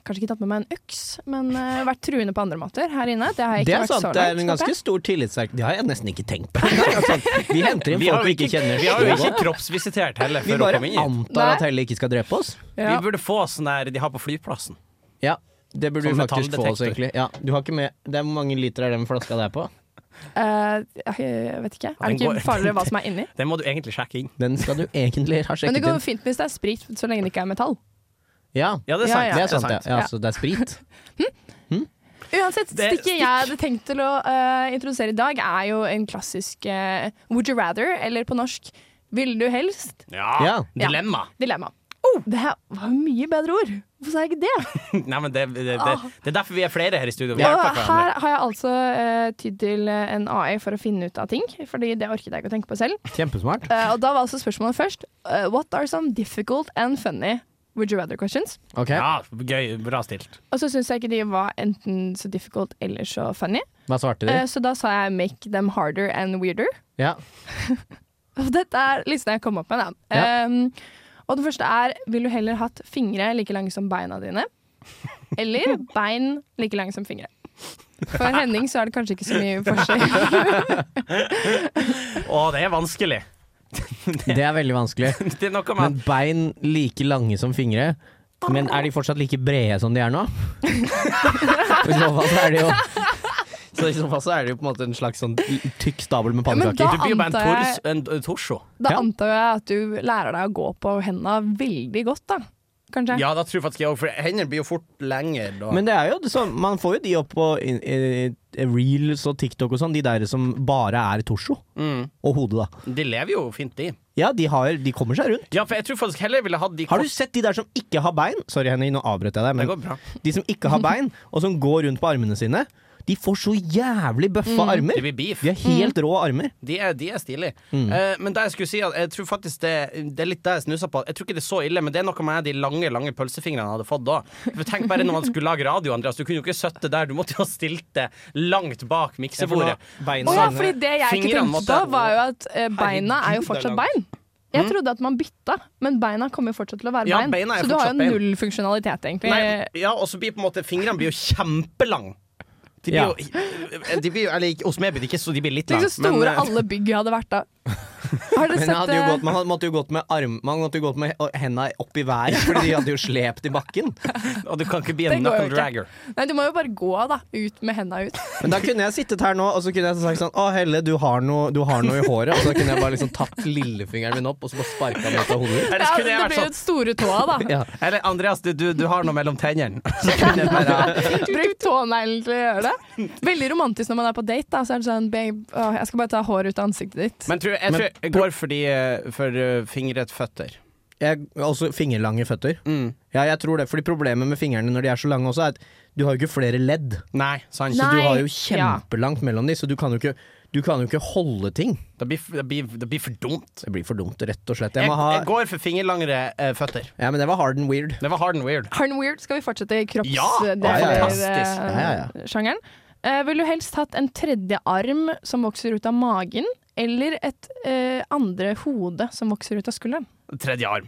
Speaker 4: kanskje ikke tatt med meg en øks, men eh, vært truende på andre måter her inne. Det har jeg
Speaker 2: Det
Speaker 4: ikke
Speaker 2: er
Speaker 4: vært
Speaker 2: sant.
Speaker 4: så
Speaker 2: Det
Speaker 4: langt.
Speaker 2: er en
Speaker 4: håper
Speaker 2: ganske
Speaker 4: jeg.
Speaker 2: stor tillitsverk. Det har jeg nesten ikke tenkt på. Det er sant. Vi henter inn
Speaker 3: Vi har
Speaker 2: folk
Speaker 3: jo
Speaker 2: vi ikke
Speaker 3: ikke,
Speaker 2: kjenner
Speaker 3: vi har jo
Speaker 2: så
Speaker 3: ikke
Speaker 2: godt.
Speaker 3: kroppsvisitert heller
Speaker 2: Vi
Speaker 3: før hun
Speaker 2: bare
Speaker 3: kom inn hit.
Speaker 2: antar at
Speaker 4: Nei.
Speaker 2: Helle ikke skal drepe oss.
Speaker 4: Ja.
Speaker 3: Vi burde få sånn der de har på flyplassen.
Speaker 2: Ja, det burde
Speaker 3: Sånn
Speaker 2: vi faktisk få oss,
Speaker 3: metalldetektor.
Speaker 2: egentlig. Ja, du har ikke med det er Hvor mange liter er den flaska der på?
Speaker 4: Eh, jeg vet ikke. Er det
Speaker 3: Den går-
Speaker 4: ikke farligere hva som er inni?
Speaker 3: Den må du egentlig sjekke inn.
Speaker 2: Den skal du egentlig ha
Speaker 4: Men
Speaker 2: sjekket
Speaker 4: det går
Speaker 2: inn.
Speaker 4: jo fint hvis det er sprit, så lenge det ikke er metall.
Speaker 2: Ja,
Speaker 3: Ja, det er
Speaker 4: Ja,
Speaker 3: sant.
Speaker 4: ja.
Speaker 2: det er sant, ja.
Speaker 3: det er sant.
Speaker 2: ja så det er sprit.
Speaker 4: Uansett,
Speaker 3: Det-
Speaker 4: stikket jeg hadde tenkt til å eh, introdusere i dag, er jo en klassisk eh, would you rather, eller på norsk ville du helst,
Speaker 3: Ja.
Speaker 2: Ja.
Speaker 3: Dilemma.
Speaker 4: dilemma. Oh, det her var jo mye bedre ord. Hvorfor sa jeg ikke det?
Speaker 3: Nei, men det, det, det, det er derfor vi er flere her i studio. Vi
Speaker 4: Og
Speaker 3: hjelper
Speaker 4: Ah. her
Speaker 3: hverandre.
Speaker 4: har jeg altså eh, tydd til eh, en AI for å finne ut av ting, Fordi det orket jeg ikke å tenke på selv.
Speaker 2: Kjempesmart.
Speaker 4: Eh, og da var altså spørsmålet først eh, What are some difficult and funny would you rather questions?
Speaker 2: Ok,
Speaker 3: Ja, gøy. Bra stilt.
Speaker 4: Og så syns jeg ikke de var enten så difficult eller så funny.
Speaker 2: Hva svarte de?
Speaker 4: Eh, så da sa jeg make them harder and weirder.
Speaker 2: Ja.
Speaker 4: Og dette er listen jeg kom opp med, da.
Speaker 2: Ja.
Speaker 4: Ehm, og den første er Vil du heller hatt fingre like lange som beina dine? Eller bein like lange som fingre? For Henning så er det kanskje ikke så mye forskjell.
Speaker 3: Å, det er vanskelig.
Speaker 2: Det er veldig vanskelig.
Speaker 3: Det er noe med
Speaker 2: Men bein like lange som fingre. Men er de fortsatt like brede som de er nå? I så fall så er de jo Så i så fall så er det jo på en måte en slags sånn tykk stabel med
Speaker 4: Men da
Speaker 2: pannekaker.
Speaker 3: Du blir jo bare en,
Speaker 4: antar jeg-
Speaker 3: tors, en en torso.
Speaker 4: Da
Speaker 2: Ja.
Speaker 4: antar jeg at du lærer deg å gå på henda veldig godt, da. Kanskje.
Speaker 3: Ja, da tror jeg faktisk jeg òg, for hendene blir jo fort lengre da.
Speaker 2: Men det er jo det sånn, man får jo de opp på i- i- i reels og TikTok og sånn, de der som bare er torso.
Speaker 3: Mm.
Speaker 2: Og hodet, da.
Speaker 3: De lever jo fint, de.
Speaker 2: Ja, de, har, de kommer seg rundt.
Speaker 3: Ja, for jeg tror faktisk heller jeg ville hatt de
Speaker 2: Har du sett de der som ikke har bein? Sorry, Henning, nå avbrøt jeg deg.
Speaker 3: Det
Speaker 2: Men
Speaker 3: går bra.
Speaker 2: de som ikke har bein, og som går rundt på armene sine, de får så jævlig bøffa
Speaker 3: Det
Speaker 2: armer.
Speaker 3: blir beef.
Speaker 2: Mm. De har helt rå armer.
Speaker 3: De er, de er stilige.
Speaker 2: Mm.
Speaker 3: Eh, men det jeg skulle si at jeg tror faktisk det, det er litt det jeg snuser på. Jeg tror ikke det er så ille, men det er noe med de lange lange pølsefingrene han hadde fått da. For Tenk bare når man skulle lage radio, Andreas. Du kunne jo ikke søtte der. Du måtte jo ha stilt det langt bak miksebordet.
Speaker 4: Å
Speaker 3: sånn,
Speaker 4: ja, fordi det jeg ikke
Speaker 3: Fingrene
Speaker 4: tenkte
Speaker 3: måtte-
Speaker 4: på, var jo at eh, beina er jo
Speaker 3: Herregud, det er
Speaker 4: fortsatt
Speaker 3: langt. Mm.
Speaker 4: bein. Jeg trodde at man bytta, men beina kommer jo fortsatt til å være
Speaker 3: Ja,
Speaker 4: bein.
Speaker 3: beina er
Speaker 4: Så du har
Speaker 3: fortsatt
Speaker 4: jo
Speaker 3: bein.
Speaker 4: null funksjonalitet, egentlig.
Speaker 3: Nei, ja, og så blir på en måte fingrene blir jo kjempelange. De blir
Speaker 2: Ja.
Speaker 3: jo, de blir, jo- eller ikke- hos meg blir de ikke så, de blir litt
Speaker 4: Tenk
Speaker 3: lange.
Speaker 4: så store
Speaker 3: eh,
Speaker 4: alle bygg hadde vært da. Har dere
Speaker 2: Men jeg
Speaker 4: sett
Speaker 2: hadde jo
Speaker 4: eh,
Speaker 2: gått, man hadde- måtte jo gått med arm, Man måtte jo gått med henda opp i været, Fordi de hadde jo slept i bakken.
Speaker 3: og du kan ikke bli en
Speaker 4: Det går jo
Speaker 3: knuckle
Speaker 4: ikke.
Speaker 3: dragger.
Speaker 4: Nei, du må jo bare gå da, ut med henda ut.
Speaker 2: Men da kunne jeg sittet her nå og så kunne jeg sagt sånn Å, Helle, du har noe, du har noe i håret. Og så kunne jeg bare liksom tatt lillefingeren min opp og så bare sparka den ut av hodet.
Speaker 3: Eller
Speaker 4: Ja,
Speaker 3: så kunne
Speaker 4: det
Speaker 3: jeg vært
Speaker 4: blir jo
Speaker 3: sånn
Speaker 4: den store tåa, da.
Speaker 2: Ja.
Speaker 3: Eller Andreas, du, du, du har noe mellom tennene. Så kunne jeg bare
Speaker 4: Bruk tåneglen til å gjøre det. Veldig romantisk når man er på date. da Så er det sånn, babe, å, jeg skal bare ta håret ut av ansiktet ditt.
Speaker 3: Men tror, jeg tror jeg går for, de, eh, for eh, fingret føtter.
Speaker 2: Jeg, også fingerlange føtter. Ja, jeg tror det, fordi Problemet med fingrene når de er så lange, også er at du har jo ikke flere ledd.
Speaker 3: Nei, sant.
Speaker 2: Så
Speaker 4: Nei.
Speaker 2: du har jo
Speaker 4: ja.
Speaker 2: kjempelangt mellom de, så du kan jo ikke, du kan jo ikke holde ting.
Speaker 3: Det blir, det, blir, det blir for dumt.
Speaker 2: Det blir for dumt, rett og slett.
Speaker 3: Jeg,
Speaker 2: Jeg må ha,
Speaker 3: jeg går for fingerlangere eh, føtter.
Speaker 2: ja, men det var hard and weird.
Speaker 3: Det var hard and weird.
Speaker 4: Hard and weird, skal vi fortsette i
Speaker 3: Ja, fantastisk.
Speaker 4: kroppsdeler-sjangeren?
Speaker 2: Ja, ja,
Speaker 4: eh, vil du helst hatt en tredje arm som vokser ut av magen, eller et eh, andre hode som vokser ut av skulderen?
Speaker 3: Tredje arm.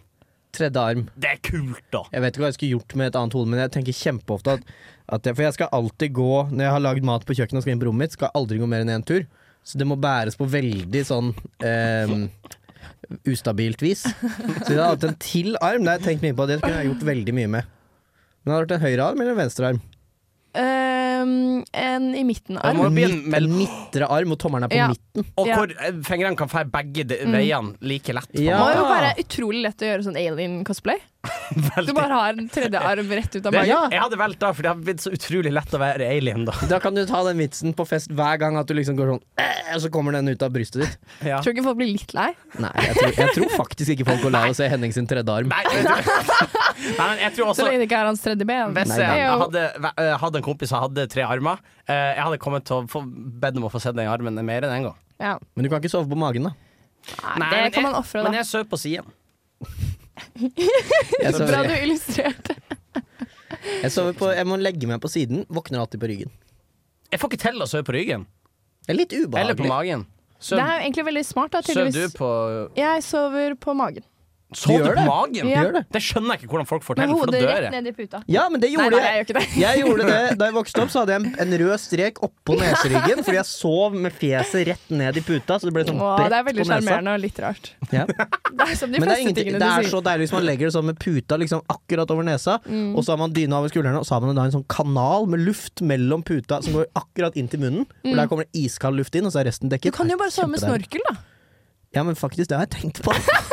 Speaker 2: Tredje arm.
Speaker 3: Det er kult, da.
Speaker 2: Jeg vet ikke hva jeg skulle gjort med et annet hode, men jeg tenker kjempeofte at, at jeg, For jeg skal alltid gå Når jeg har lagd mat på kjøkkenet og skal inn på rommet mitt, skal jeg aldri gå mer enn én tur. Så det må bæres på veldig sånn ehm, ustabilt vis. Så jeg har hatt en til arm. Det har jeg tenkt mye på. Det kunne jeg gjort veldig mye med. Men det hadde vært en høyre arm eller en venstre arm?
Speaker 4: Ehm, en i midten
Speaker 3: Det må
Speaker 4: arm.
Speaker 3: jo bli en
Speaker 2: Midt, en
Speaker 3: mellom-
Speaker 2: midtre arm, og tommelen er på
Speaker 4: Ja.
Speaker 2: midten.
Speaker 3: Og
Speaker 4: Ja.
Speaker 3: hvor eh, fingrene kan fære begge de, veiene like lett. på en
Speaker 2: Ja.
Speaker 4: Det
Speaker 3: måte.
Speaker 4: må jo være utrolig lett å gjøre sånn alien-cosplay. Du
Speaker 3: Veldig.
Speaker 4: bare har en tredje arm rett ut av
Speaker 3: Det,
Speaker 4: magen.
Speaker 2: Ja.
Speaker 3: Jeg hadde valgt da, for det hadde blitt så utrolig lett å være alien, da.
Speaker 2: Da kan du ta den vitsen på fest hver gang at du liksom går sånn «Æ», Og så kommer den ut av brystet ditt.
Speaker 3: Ja.
Speaker 4: Tror ikke folk blir litt lei.
Speaker 2: Nei, jeg tror, jeg tror faktisk ikke folk går lei av å se Henning sin tredje arm.
Speaker 3: Nei, jeg tror, nei, men jeg tror
Speaker 4: Så
Speaker 3: også
Speaker 4: lenge det ikke er hans tredje ben.
Speaker 3: Hvis
Speaker 2: Nei,
Speaker 3: jeg,
Speaker 2: nei.
Speaker 3: Altså, jeg hadde, eh, hadde en kompis som hadde tre armer, eh, jeg hadde kommet til å få, bedt om å få sett den armen mer enn én en gang.
Speaker 4: Ja.
Speaker 2: Men du kan ikke sove på magen, da.
Speaker 4: Nei,
Speaker 3: Nei,
Speaker 4: det
Speaker 3: men jeg-
Speaker 4: kan man ofre,
Speaker 3: Men
Speaker 4: da.
Speaker 3: jeg sover på siden.
Speaker 2: Jeg
Speaker 4: Bra
Speaker 2: sover,
Speaker 4: du illustrerte.
Speaker 2: jeg, sover på, jeg må legge meg på siden, våkner alltid på ryggen.
Speaker 3: Jeg får ikke til å sove på ryggen.
Speaker 2: Det er litt
Speaker 3: Eller på
Speaker 2: ubehagelig.
Speaker 3: magen.
Speaker 4: Det
Speaker 3: Søv,
Speaker 4: er jo egentlig veldig smart, da,
Speaker 3: søv du
Speaker 4: tydeligvis.
Speaker 3: på
Speaker 4: Jeg sover på magen.
Speaker 3: Sov du
Speaker 2: gjør
Speaker 3: på
Speaker 2: det.
Speaker 3: magen?
Speaker 4: Ja.
Speaker 2: Gjør det.
Speaker 3: Det skjønner jeg ikke hvordan folk får
Speaker 4: Med
Speaker 3: til, for da
Speaker 4: hodet
Speaker 3: dør jeg.
Speaker 4: rett ned i puta.
Speaker 2: Ja, men det
Speaker 4: Nei,
Speaker 2: gjorde
Speaker 4: nei, jeg
Speaker 2: jeg.
Speaker 4: gjør ikke det.
Speaker 2: Jeg gjorde det Da jeg vokste opp, så hadde jeg en, en rød strek oppå neseryggen, fordi jeg sov med fjeset rett ned i puta. Så det ble sånn
Speaker 4: Å, det er
Speaker 2: brett
Speaker 4: veldig
Speaker 2: på nesa.
Speaker 4: sjarmerende og litt rart.
Speaker 2: Ja.
Speaker 4: Det er som de
Speaker 2: Men det er,
Speaker 4: fleste
Speaker 2: ingenting-
Speaker 4: tingene
Speaker 2: det
Speaker 4: du
Speaker 2: er
Speaker 4: sier.
Speaker 2: så deilig hvis man legger det sånn med puta liksom akkurat over nesa,
Speaker 4: Mm.
Speaker 2: og så har man dyna over skuldrene, og så har man da en sånn kanal med luft mellom puta som går akkurat inn til munnen. Og der kommer det iskald luft inn, og så er resten
Speaker 4: Mm. Du
Speaker 2: dekket.
Speaker 4: kan jo bare sove med
Speaker 2: Kjempedeilig.
Speaker 4: snorkel, da.
Speaker 2: Ja, men faktisk, det har jeg tenkt på.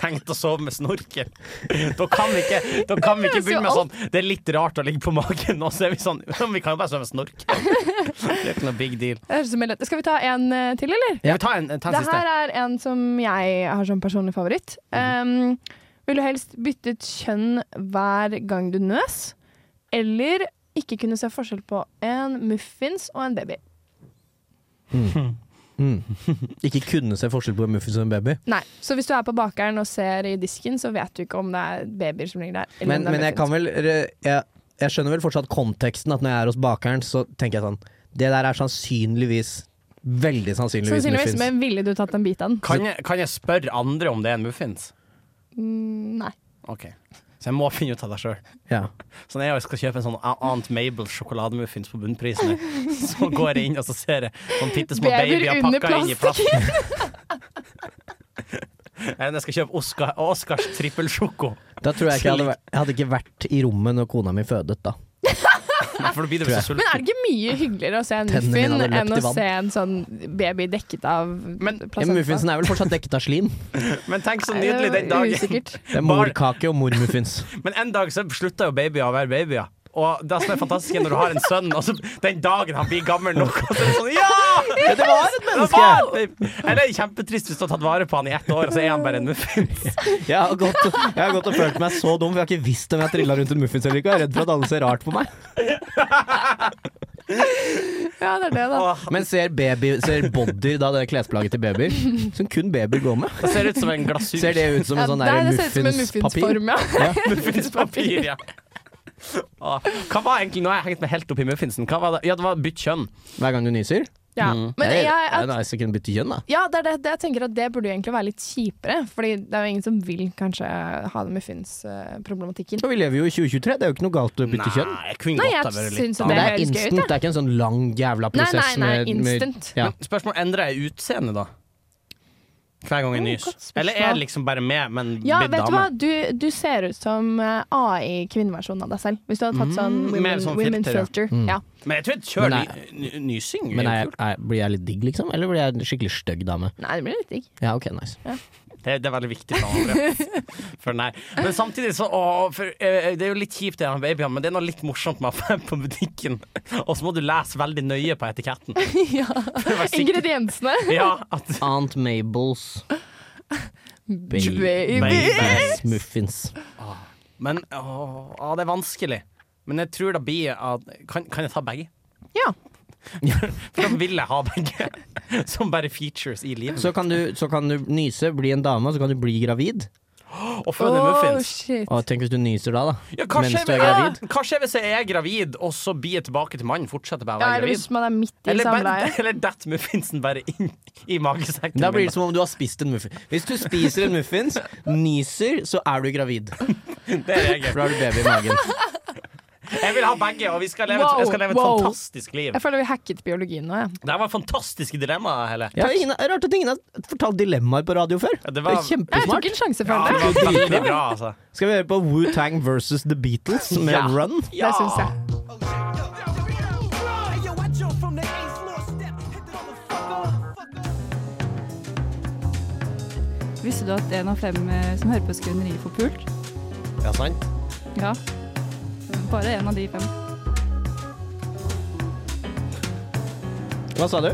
Speaker 3: tenkt å sove med snorkel. Da kan vi ikke, da kan vi ikke begynne med sånn Det er litt rart å ligge på magen, og så er vi sånn Men vi kan jo bare sove med snorkel. Det er ikke noe big deal.
Speaker 4: Det høres ut som en lett- Skal vi ta en eh, til, eller?
Speaker 3: Ja. Vi tar en, en ta en
Speaker 4: Det
Speaker 3: siste.
Speaker 4: her er en som jeg har som personlig favoritt.
Speaker 2: Mhm.
Speaker 4: Um, vil du helst bytte ut kjønn hver gang du nøs? Eller ikke kunne se forskjell på en muffins og en baby?
Speaker 2: Mm. Ikke kunne se forskjell på en muffins og en baby.
Speaker 4: Nei, Så hvis du er på bakeren og ser i disken, så vet du ikke om det er babyer som ligger der. eller
Speaker 2: Men,
Speaker 4: om det er
Speaker 2: men jeg
Speaker 4: muffins.
Speaker 2: kan vel re- jeg, jeg skjønner vel fortsatt konteksten, at når jeg er hos bakeren, så tenker jeg sånn Det der er sannsynligvis Veldig sannsynligvis,
Speaker 4: Sannsynligvis,
Speaker 2: muffins.
Speaker 4: men ville du tatt en bit av den?
Speaker 3: Kan jeg, kan jeg spørre andre om det er en muffins?
Speaker 4: Mm, Nei.
Speaker 3: OK. Så jeg må finne ut av det sjøl.
Speaker 2: Ja.
Speaker 3: Så når jeg skal kjøpe en sånn Aunt Mabel sjokolademuffins på bunnprisen, så går jeg inn og så ser jeg sånn bitte små
Speaker 4: Babyer
Speaker 3: babyer
Speaker 4: under
Speaker 3: pakka inn i plasten. Eller når jeg skal kjøpe Oscar, Oscars trippelsjoko,
Speaker 2: Da tror jeg ikke jeg hadde vært Jeg hadde ikke vært i rommet når kona mi fødet, da.
Speaker 3: for da blir du så
Speaker 4: Men
Speaker 3: sulten.
Speaker 4: er det ikke mye hyggeligere å se en
Speaker 2: Tennene mine
Speaker 4: muffin
Speaker 2: hadde løpt
Speaker 4: enn
Speaker 2: i
Speaker 4: å
Speaker 2: vann.
Speaker 4: se en sånn baby dekket av
Speaker 3: Men-
Speaker 2: Ja, men muffinsen er vel fortsatt dekket av slim.
Speaker 3: Men tenk så
Speaker 4: Nei, det
Speaker 3: nydelig den
Speaker 4: var
Speaker 3: dagen.
Speaker 4: Usikkert.
Speaker 2: Det er morkake og mormuffins.
Speaker 3: Men en dag så slutter jo babyer å være babyer. Og det som er fantastisk, er når du har en sønn, og så den dagen han blir gammel nok, og så er det sånn Ja!
Speaker 2: Ja, det var et
Speaker 3: Det var det!» Eller det er kjempetrist hvis du har tatt vare på han i ett år, og så er han bare en muffins.
Speaker 2: Jeg har, gått, jeg har gått og følt meg så dum, for jeg har ikke visst om jeg trilla rundt en muffins eller ikke. og Jeg er redd for at alle ser rart på meg.
Speaker 4: Ja, det er det, da.
Speaker 3: Åh,
Speaker 2: Men ser, baby, ser bodyer da det klesplagget til babyer, som kun babyer går med?
Speaker 3: det ser ut som en glasur.
Speaker 2: Ser det ut som en sånn
Speaker 4: Ja,
Speaker 2: der
Speaker 4: nei, det ser ut som en
Speaker 2: muffinspapir?
Speaker 4: muffinsform, ja.
Speaker 3: Muffinspapir, ja. Åh, Hva var egentlig, Nå har jeg hengt meg helt opp i muffinsen. Hva var det? Ja, det var bytt kjønn.
Speaker 2: Hver gang du nyser?
Speaker 4: ja. Men
Speaker 2: Mm.
Speaker 4: jeg,
Speaker 2: det
Speaker 4: at,
Speaker 2: er nice å kunne bytte kjønn, da.
Speaker 4: ja, det er det, det jeg tenker at det burde jo egentlig være litt kjipere, Fordi det er jo ingen som vil kanskje ha den muffinsproblematikken.
Speaker 2: Og vi lever jo i 2023, det er jo ikke noe galt å bytte kjønn.
Speaker 3: Nei, jeg kunne
Speaker 4: Nei,
Speaker 3: godt
Speaker 4: jeg
Speaker 3: ha vært litt
Speaker 4: syns at
Speaker 2: Men
Speaker 4: det
Speaker 2: det er
Speaker 4: høres gøy
Speaker 2: instant,
Speaker 4: ut,
Speaker 2: det er
Speaker 4: jeg.
Speaker 2: ikke en sånn lang jævla
Speaker 4: Nei,
Speaker 2: prosess
Speaker 4: nei, nei,
Speaker 2: med- med-
Speaker 4: instant.
Speaker 2: ja.
Speaker 3: Men Spørsmål endrer jeg utseende, da? Hver gang jeg
Speaker 4: Mm,
Speaker 3: nys.
Speaker 4: godt spørsmål.
Speaker 3: Eller er jeg liksom bare med, men
Speaker 4: Ja,
Speaker 3: blitt
Speaker 4: vet du hva?
Speaker 3: dame?
Speaker 4: Du, du ser ut som eh, AI kvinneversjonen av deg selv. Hvis du hadde tatt sånn
Speaker 3: Mm, mer
Speaker 4: women,
Speaker 3: sånn
Speaker 4: women
Speaker 3: filter, ja.
Speaker 4: filter.
Speaker 2: Mm.
Speaker 4: Ja.
Speaker 3: Men jeg tror jeg kjører
Speaker 2: Men
Speaker 3: ny, ny- nysing.
Speaker 2: Men
Speaker 3: er
Speaker 2: er,
Speaker 3: jo kult.
Speaker 2: er, blir jeg litt digg, liksom? Eller blir jeg en skikkelig stygg dame?
Speaker 4: Nei, det blir litt digg.
Speaker 2: Ja, ok, nice.
Speaker 3: det, det er veldig viktig for andre. For den her. Men samtidig så å, for, eh, Det er jo litt kjipt, det her med babyene, men det er noe litt morsomt med å være på butikken, og så må du lese veldig nøye på etiketten.
Speaker 4: ja.
Speaker 3: For å være sikker.
Speaker 4: Ingrediensene.
Speaker 3: Ja, at
Speaker 2: Aunt Mabels
Speaker 4: Baby.
Speaker 2: Baby's muffins.
Speaker 3: Men åh, åh, det er vanskelig. Men jeg tror det blir at Kan, kan jeg ta begge?
Speaker 4: Ja.
Speaker 3: For da vil jeg ha begge. Som bare features i livet.
Speaker 2: Så kan, du, så kan du nyse, bli en dame, og så kan du bli gravid.
Speaker 3: og føde muffins.
Speaker 4: shit.
Speaker 2: Og tenk hvis du nyser da, da.
Speaker 3: Ja, hva
Speaker 2: Mens
Speaker 3: skjer
Speaker 2: du er
Speaker 3: hvis-
Speaker 2: gravid.
Speaker 3: Ja, Hva skjer hvis jeg er gravid, og så blir jeg tilbake til mannen? Fortsetter bare å
Speaker 4: Ja,
Speaker 3: være
Speaker 4: eller
Speaker 3: gravid?
Speaker 4: hvis man er midt i
Speaker 3: Eller, bare,
Speaker 4: samleie.
Speaker 3: eller detter muffinsen bare inn i magesekken?
Speaker 2: Da
Speaker 3: min,
Speaker 2: blir det som om du har spist en muffins. Hvis du spiser en muffins, nyser, så er du gravid.
Speaker 3: Det er regelen.
Speaker 2: For da har du baby i magen.
Speaker 3: Jeg vil ha begge, og vi skal leve,
Speaker 4: Wow,
Speaker 3: et- jeg skal leve et
Speaker 4: wow.
Speaker 3: fantastisk liv.
Speaker 4: Jeg føler vi hacket biologien nå, jeg.
Speaker 3: Det her var fantastiske dilemmaer, Helle.
Speaker 2: Ja, ingen, har- rart at ingen har fortalt dilemmaer på radio før.
Speaker 3: Ja, det
Speaker 2: det,
Speaker 3: var-
Speaker 2: er
Speaker 4: Jeg tok
Speaker 2: kjempesmart.
Speaker 4: en sjanse,
Speaker 3: Ja,
Speaker 4: føler
Speaker 3: det
Speaker 4: jeg.
Speaker 3: var veldig bra, altså.
Speaker 2: Skal vi høre på Wu-Tang versus The Beatles med
Speaker 3: Ja.
Speaker 2: Run?
Speaker 4: Det syns jeg.
Speaker 5: Visste du at en av fem eh, som hører på Skrøneriet, får pult?
Speaker 3: Ja, sant?
Speaker 5: Ja. Bare en av de fem.
Speaker 2: Hva sa du?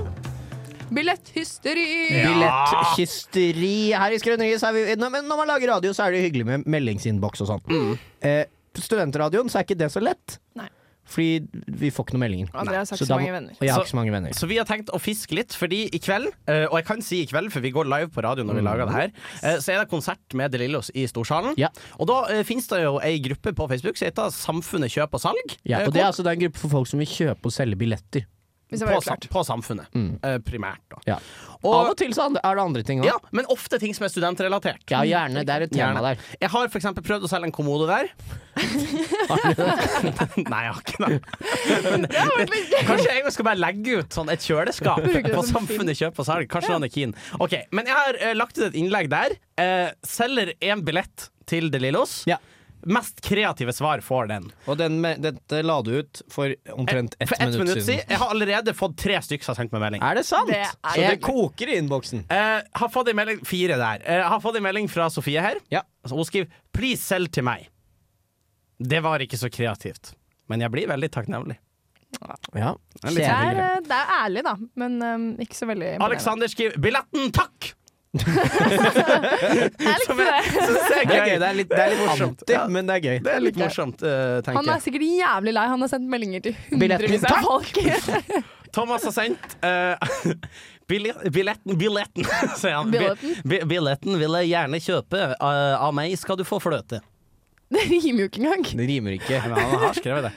Speaker 4: Billetthysteri!
Speaker 2: Billetthysteri her i Skrøneriet. så er vi- Nå- Men når man lager radio, så er det hyggelig med meldingsinnboks og sånn. Eh, på studentradioen så er ikke det så lett.
Speaker 4: Nei.
Speaker 2: Fordi vi får ikke noen meldinger.
Speaker 4: Og dere har sagt
Speaker 2: Så
Speaker 4: så
Speaker 2: da må-
Speaker 4: mange venner.
Speaker 2: Og jeg har
Speaker 3: Så-
Speaker 2: ikke så mange venner.
Speaker 3: Så vi har tenkt å fiske litt, fordi i kveld, eh, og jeg kan si i kveld, for vi går live på radio når vi lager det her, eh, så er det konsert med De Lillos i Storsalen.
Speaker 2: Ja.
Speaker 3: Og da eh, finnes det jo ei gruppe på Facebook som heter Samfunnet kjøp og salg.
Speaker 2: Ja,
Speaker 3: Eh,
Speaker 2: og det er altså det er en gruppe for folk som vil kjøpe og selge billetter.
Speaker 4: Hvis det
Speaker 3: på,
Speaker 4: var
Speaker 3: sam
Speaker 4: klart.
Speaker 3: på Samfunnet, eh, primært. Da.
Speaker 2: Ja. Mm. Av og
Speaker 3: Og,
Speaker 2: til så and- er det andre ting òg.
Speaker 3: ja, men ofte ting som er studentrelatert.
Speaker 2: Ja, gjerne. Det er et tema der.
Speaker 3: Gjerne. Jeg har for eksempel prøvd å selge en kommode der. Nei, jeg har ikke det. Kanskje jeg skal bare legge ut sånn et kjøleskap
Speaker 4: Bruker det
Speaker 3: på
Speaker 4: som
Speaker 3: Samfunnet kjøp og salg. Kanskje noen er keen. Ok, Men jeg har eh, lagt ut et innlegg der. Eh, selger én billett til De Lillos.
Speaker 2: Ja.
Speaker 3: Mest kreative svar får den. Eh,
Speaker 2: Og den med, dette la du ut for omtrent ett
Speaker 3: For ett
Speaker 2: minutt siden.
Speaker 3: Jeg har allerede fått tre stykker som har sendt meg melding.
Speaker 2: Er det sant?
Speaker 4: Det er-
Speaker 2: Så det koker i innboksen.
Speaker 3: Eh, har fått en melding Fire der. Eh, har fått en melding fra Sofie her.
Speaker 2: Ja.
Speaker 3: Altså, hun skriver 'Please selg til meg'. Det var ikke så kreativt, men jeg blir veldig takknemlig.
Speaker 2: Ja.
Speaker 3: Det er litt sånn
Speaker 4: Det er,
Speaker 3: hyggelig.
Speaker 4: eh, det er ærlig, da, men eh, ikke så veldig imponerende.
Speaker 3: Alexander skriver 'Billetten, takk'!
Speaker 4: Jeg likte det.
Speaker 3: Så det er
Speaker 2: Det er gøy.
Speaker 3: gøy.
Speaker 2: Det er litt, det er litt
Speaker 3: morsomt.
Speaker 2: anti,
Speaker 3: Ja.
Speaker 2: men det er gøy.
Speaker 3: Det er litt morsomt, eh,
Speaker 4: Han
Speaker 3: tenker
Speaker 4: er
Speaker 3: jeg.
Speaker 4: sikkert jævlig lei. Han har sendt meldinger til
Speaker 2: Billetten,
Speaker 4: hundrevis av folk.
Speaker 3: Thomas har sendt eh, bille- Billetten, billetten, sier han. Bi-
Speaker 4: Billetten?
Speaker 3: bi- billetten vil jeg gjerne kjøpe. eh, av meg skal du få fløte.
Speaker 4: Det rimer jo ikke engang.
Speaker 2: Det rimer ikke.
Speaker 3: Men han har skrevet det.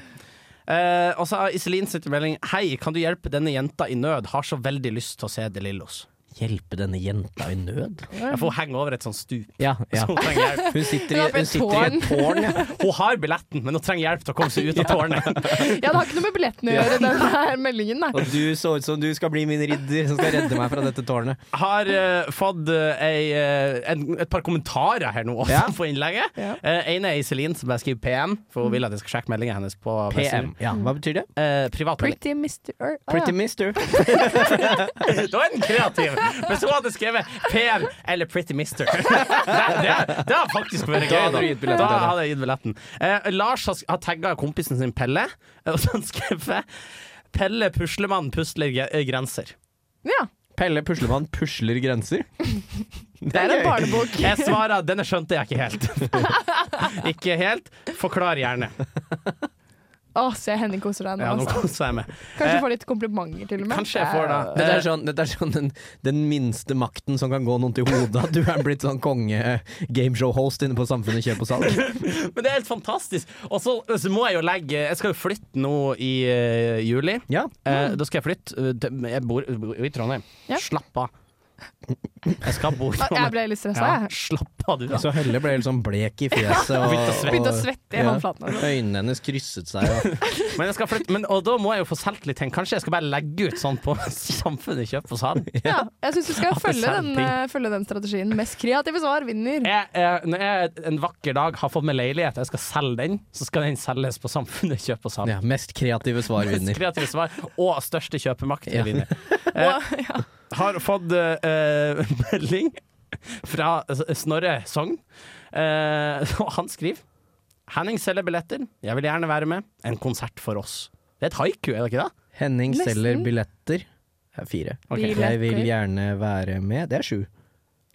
Speaker 3: Eh, og så har Iselin sendt en melding. Hei, kan du hjelpe denne jenta i nød? Har så veldig lyst til å se De Lillos.
Speaker 2: Hjelpe denne jenta i nød?
Speaker 3: Jeg får henge over et sånt stup.
Speaker 2: Ja, ja.
Speaker 3: Så hun, trenger hjelp.
Speaker 2: Hun sitter i,
Speaker 4: Hun er på
Speaker 2: hun
Speaker 4: et
Speaker 2: sitter i et tårn. Ja.
Speaker 3: hun har billetten, men hun trenger hjelp til å komme seg ut av tårnet.
Speaker 4: Ja, det har ikke noe med billetten å gjøre, den her meldingen. Nei.
Speaker 2: Og du så ut som du skal bli min ridder som skal redde meg fra dette tårnet.
Speaker 3: Har eh, fått eh, ei, eh, en, et par kommentarer her nå også,
Speaker 2: Ja.
Speaker 3: på innlegget.
Speaker 2: Ja.
Speaker 3: Eh, ene er Iselin, som bare skriver PM, for hun vil at jeg skal sjekke meldingen hennes på
Speaker 2: PM. Ja, Hva betyr det?
Speaker 3: Uh, privatmelding.
Speaker 4: Pretty Mr. Earth. Å,
Speaker 2: Pretty
Speaker 4: ja.
Speaker 2: mister.
Speaker 3: Da er den kreativ! Hvis hun hadde skrevet PM eller Pretty Mister Det, det, det hadde faktisk vært
Speaker 2: Da
Speaker 3: gøy.
Speaker 2: hadde
Speaker 3: Da.
Speaker 2: du gitt billetten
Speaker 3: Da
Speaker 2: til henne.
Speaker 3: hadde jeg gitt billetten. Eh, Lars har, har tagga kompisen sin Pelle, og så har han skrevet Pelle puslemann pusler ge- grenser.
Speaker 4: ja.
Speaker 2: Pelle Puslemann pusler grenser.
Speaker 4: Det er en barnebok.
Speaker 3: Jeg svarer denne skjønte jeg ikke helt. ikke helt. Forklar gjerne.
Speaker 4: Å, se Henning koser deg nå.
Speaker 3: Ja, nå
Speaker 4: altså.
Speaker 3: koser jeg meg.
Speaker 4: Kanskje
Speaker 3: Eh,
Speaker 4: du får litt komplimenter, til og med.
Speaker 3: Kanskje jeg får da Eh,
Speaker 2: Dette er sånn, dette er sånn den, den minste makten som kan gå noen til hodet. At du er blitt sånn konge-gameshow-host inne på Samfunnet kjøp og salg.
Speaker 3: Men det er helt fantastisk. Og så så må jeg jo legge Jeg skal jo flytte nå i eh, juli.
Speaker 2: Ja.
Speaker 3: Eh, da skal jeg flytte. eh, til- Jeg bor, bor i Trondheim.
Speaker 4: Mm. Ja.
Speaker 3: Slapp av. Jeg skal bo i
Speaker 4: Ah, Jeg
Speaker 3: Trondheim.
Speaker 4: ble litt stressa,
Speaker 3: Ja,
Speaker 4: jeg.
Speaker 3: slapp av, du. da.
Speaker 2: Så Helle ble helt sånn blek i fjeset. Og,
Speaker 3: Begynte å svette.
Speaker 4: Begynte å svette i
Speaker 2: Ja.
Speaker 4: håndflaten. altså.
Speaker 2: Øynene hennes krysset seg. Og,
Speaker 3: Men jeg skal flytte, men, og da må jeg jo få solgt litt ting. Kanskje jeg skal bare legge ut sånn på Samfunnet kjøp og salg.
Speaker 4: Ja, jeg syns du skal
Speaker 3: At det
Speaker 4: følge
Speaker 3: er
Speaker 4: den,
Speaker 3: ting.
Speaker 4: eh, følge den strategien. Mest kreative svar vinner.
Speaker 3: jeg, eh, når jeg en vakker dag har fått meg leilighet, jeg skal selge den, så skal den selges på Samfunnet Kjøp og Salg.
Speaker 2: ja, mest kreative svar vinner.
Speaker 3: Kreative svar og største kjøpemakt
Speaker 2: Ja.
Speaker 3: vinner. Eh, har fått eh, melding fra Snorre Sogn. Eh, og han skriver Henning selger billetter. Jeg vil gjerne være med. En konsert for oss. Det er et haiku, er det ikke det?
Speaker 2: Henning
Speaker 4: Nesten.
Speaker 2: selger billetter. Det er Fire.
Speaker 4: Billetter.
Speaker 2: Jeg vil gjerne være med. Det er sju.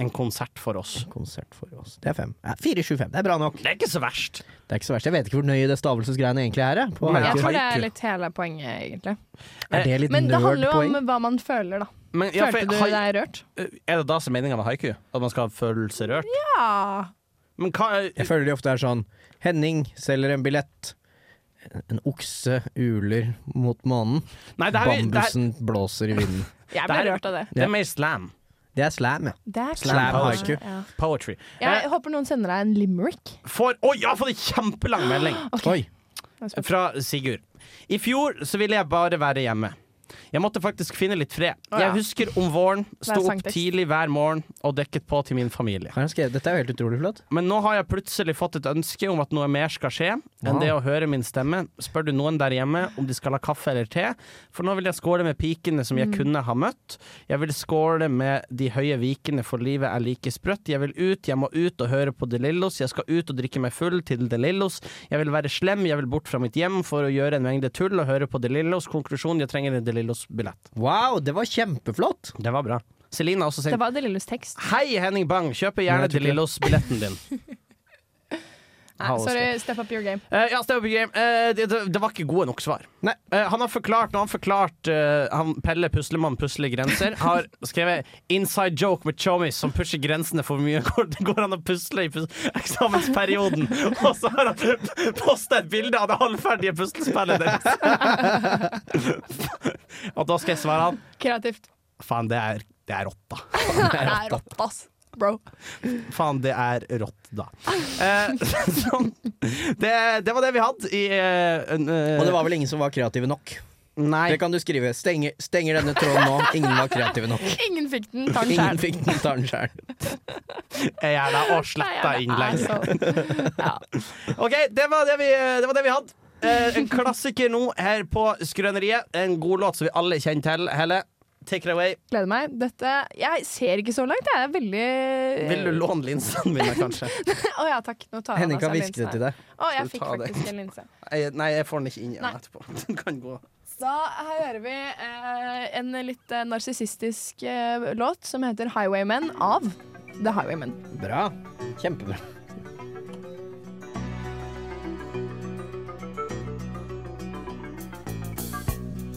Speaker 3: En konsert for oss.
Speaker 2: Konsert for oss. Det er fem. Ja, fire, sju, fem. Det er bra nok.
Speaker 3: Det er ikke så verst.
Speaker 2: Det er ikke så verst. Jeg vet ikke hvor nøye det stavelsesgreiene egentlig er. jeg, På
Speaker 3: Nei,
Speaker 4: Jeg
Speaker 2: haiku.
Speaker 4: tror det
Speaker 3: haiku.
Speaker 4: er litt hele poenget, egentlig.
Speaker 2: er det litt
Speaker 4: Men det handler jo
Speaker 2: nerdpoeng?
Speaker 4: om hva man føler, da.
Speaker 3: Men, ja, for
Speaker 4: Følte du
Speaker 3: hai- eh,
Speaker 4: deg rørt?
Speaker 3: er det da som er meninga med haiku? At man skal føle seg rørt?
Speaker 4: Ja.
Speaker 3: Men hva eh,
Speaker 2: Jeg føler de ofte er sånn Henning selger en billett. En okse uler mot månen.
Speaker 3: Nei, det her, det her,
Speaker 2: Bambusen blåser i vinden.
Speaker 4: Jeg
Speaker 3: Det
Speaker 4: ble
Speaker 3: her-
Speaker 4: rørt av det.
Speaker 3: det er mer slam.
Speaker 2: Det er slam, ja.
Speaker 4: Det er
Speaker 2: Slam
Speaker 4: klart.
Speaker 2: haiku.
Speaker 4: Ja.
Speaker 3: Poetry. Eh,
Speaker 4: Jeg håper noen sender deg en limerick.
Speaker 3: for, oi, jeg har fått en kjempelang melding
Speaker 2: Oi.
Speaker 3: fra Sigurd. I fjor så ville jeg bare være hjemme. Jeg måtte faktisk finne litt fred. Jeg husker om våren,
Speaker 4: Det
Speaker 3: sto
Speaker 4: er
Speaker 3: opp
Speaker 4: sangtekst.
Speaker 3: tidlig hver morgen og dekket på til min familie.
Speaker 2: Har han skrevet? Dette er jo helt utrolig flott.
Speaker 3: Men nå har jeg plutselig fått et ønske om at noe mer skal skje enn
Speaker 2: Wow.
Speaker 3: det å høre min stemme. Spør du noen der hjemme om de skal ha kaffe eller te? For nå vil jeg skåle med pikene som jeg kunne ha møtt. Jeg vil skåle med de høye vikene for livet er like sprøtt. Jeg vil ut, jeg må ut og høre på De Lillos. Jeg skal ut og drikke meg full til De Lillos. Jeg vil være slem, jeg vil bort fra mitt hjem for å gjøre en mengde tull og høre på De Lillos. Konklusjon, jeg trenger en De Lillos-billett.
Speaker 2: Wow, det var kjempeflott!
Speaker 3: Det var bra. Celine har også
Speaker 4: Det
Speaker 3: sendt
Speaker 4: var Delillos tekst.
Speaker 3: Hei, Henning Bang, kjøper gjerne
Speaker 2: jeg tror
Speaker 3: De
Speaker 2: ikke det.
Speaker 3: Lillos-billetten din.
Speaker 4: Nei, sorry, step up your game.
Speaker 3: Eh, ja, Stay Up Your Game. Eh, det, det, det var ikke gode nok svar.
Speaker 2: Nei.
Speaker 3: Eh, han har forklart, nå har han forklart eh, han Pelle Puslemann pusler grenser. Har skrevet 'inside joke med chommies som pusher grensene for mye'. Går, det går an å pusle i pus eksamensperioden? Og så har han posta et bilde av det halvferdige puslespillet deres. Og da skal jeg svare han
Speaker 4: Kreativt.
Speaker 3: faen, det er, det er rått, da.
Speaker 4: Det er rått, ass. Bro.
Speaker 3: Faen, det er rått, da. Eh, sånn. det, det var det vi hadde i eh, en, eh,
Speaker 2: Og det var vel ingen som var kreative nok.
Speaker 3: Nei.
Speaker 2: Det kan du skrive. Stenger, stenger denne tråden nå. Ingen var kreative nok.
Speaker 4: Ingen fikk den. Ta den
Speaker 2: Ingen
Speaker 4: sjæl.
Speaker 2: fikk den, tar den sjæl.
Speaker 3: er gjerne og sletta innlegg.
Speaker 4: Ja.
Speaker 3: OK, det var det vi, det var det vi hadde. Eh, en klassiker nå her på Skrøneriet. En god låt som vi alle kjenner til. Helle, take it away.
Speaker 4: Gleder meg. Dette Jeg ser ikke så langt, jeg. er Veldig
Speaker 3: Vil du låne linsene mine, kanskje?
Speaker 4: Å ja, takk. Nå tar
Speaker 2: Henning
Speaker 4: han av
Speaker 2: kan
Speaker 4: seg
Speaker 2: hviske det
Speaker 4: linsen
Speaker 2: til deg.
Speaker 4: her. Å, jeg
Speaker 3: Skal du
Speaker 4: fikk
Speaker 3: ta det?
Speaker 4: faktisk en linse.
Speaker 3: Jeg, nei, jeg får den ikke inn igjen
Speaker 4: Nei.
Speaker 3: etterpå. Den kan gå.
Speaker 4: Da hører vi eh, en litt eh, narsissistisk eh, låt som heter 'Highwaymen' av The Highwaymen.
Speaker 2: Bra. Kjempebra.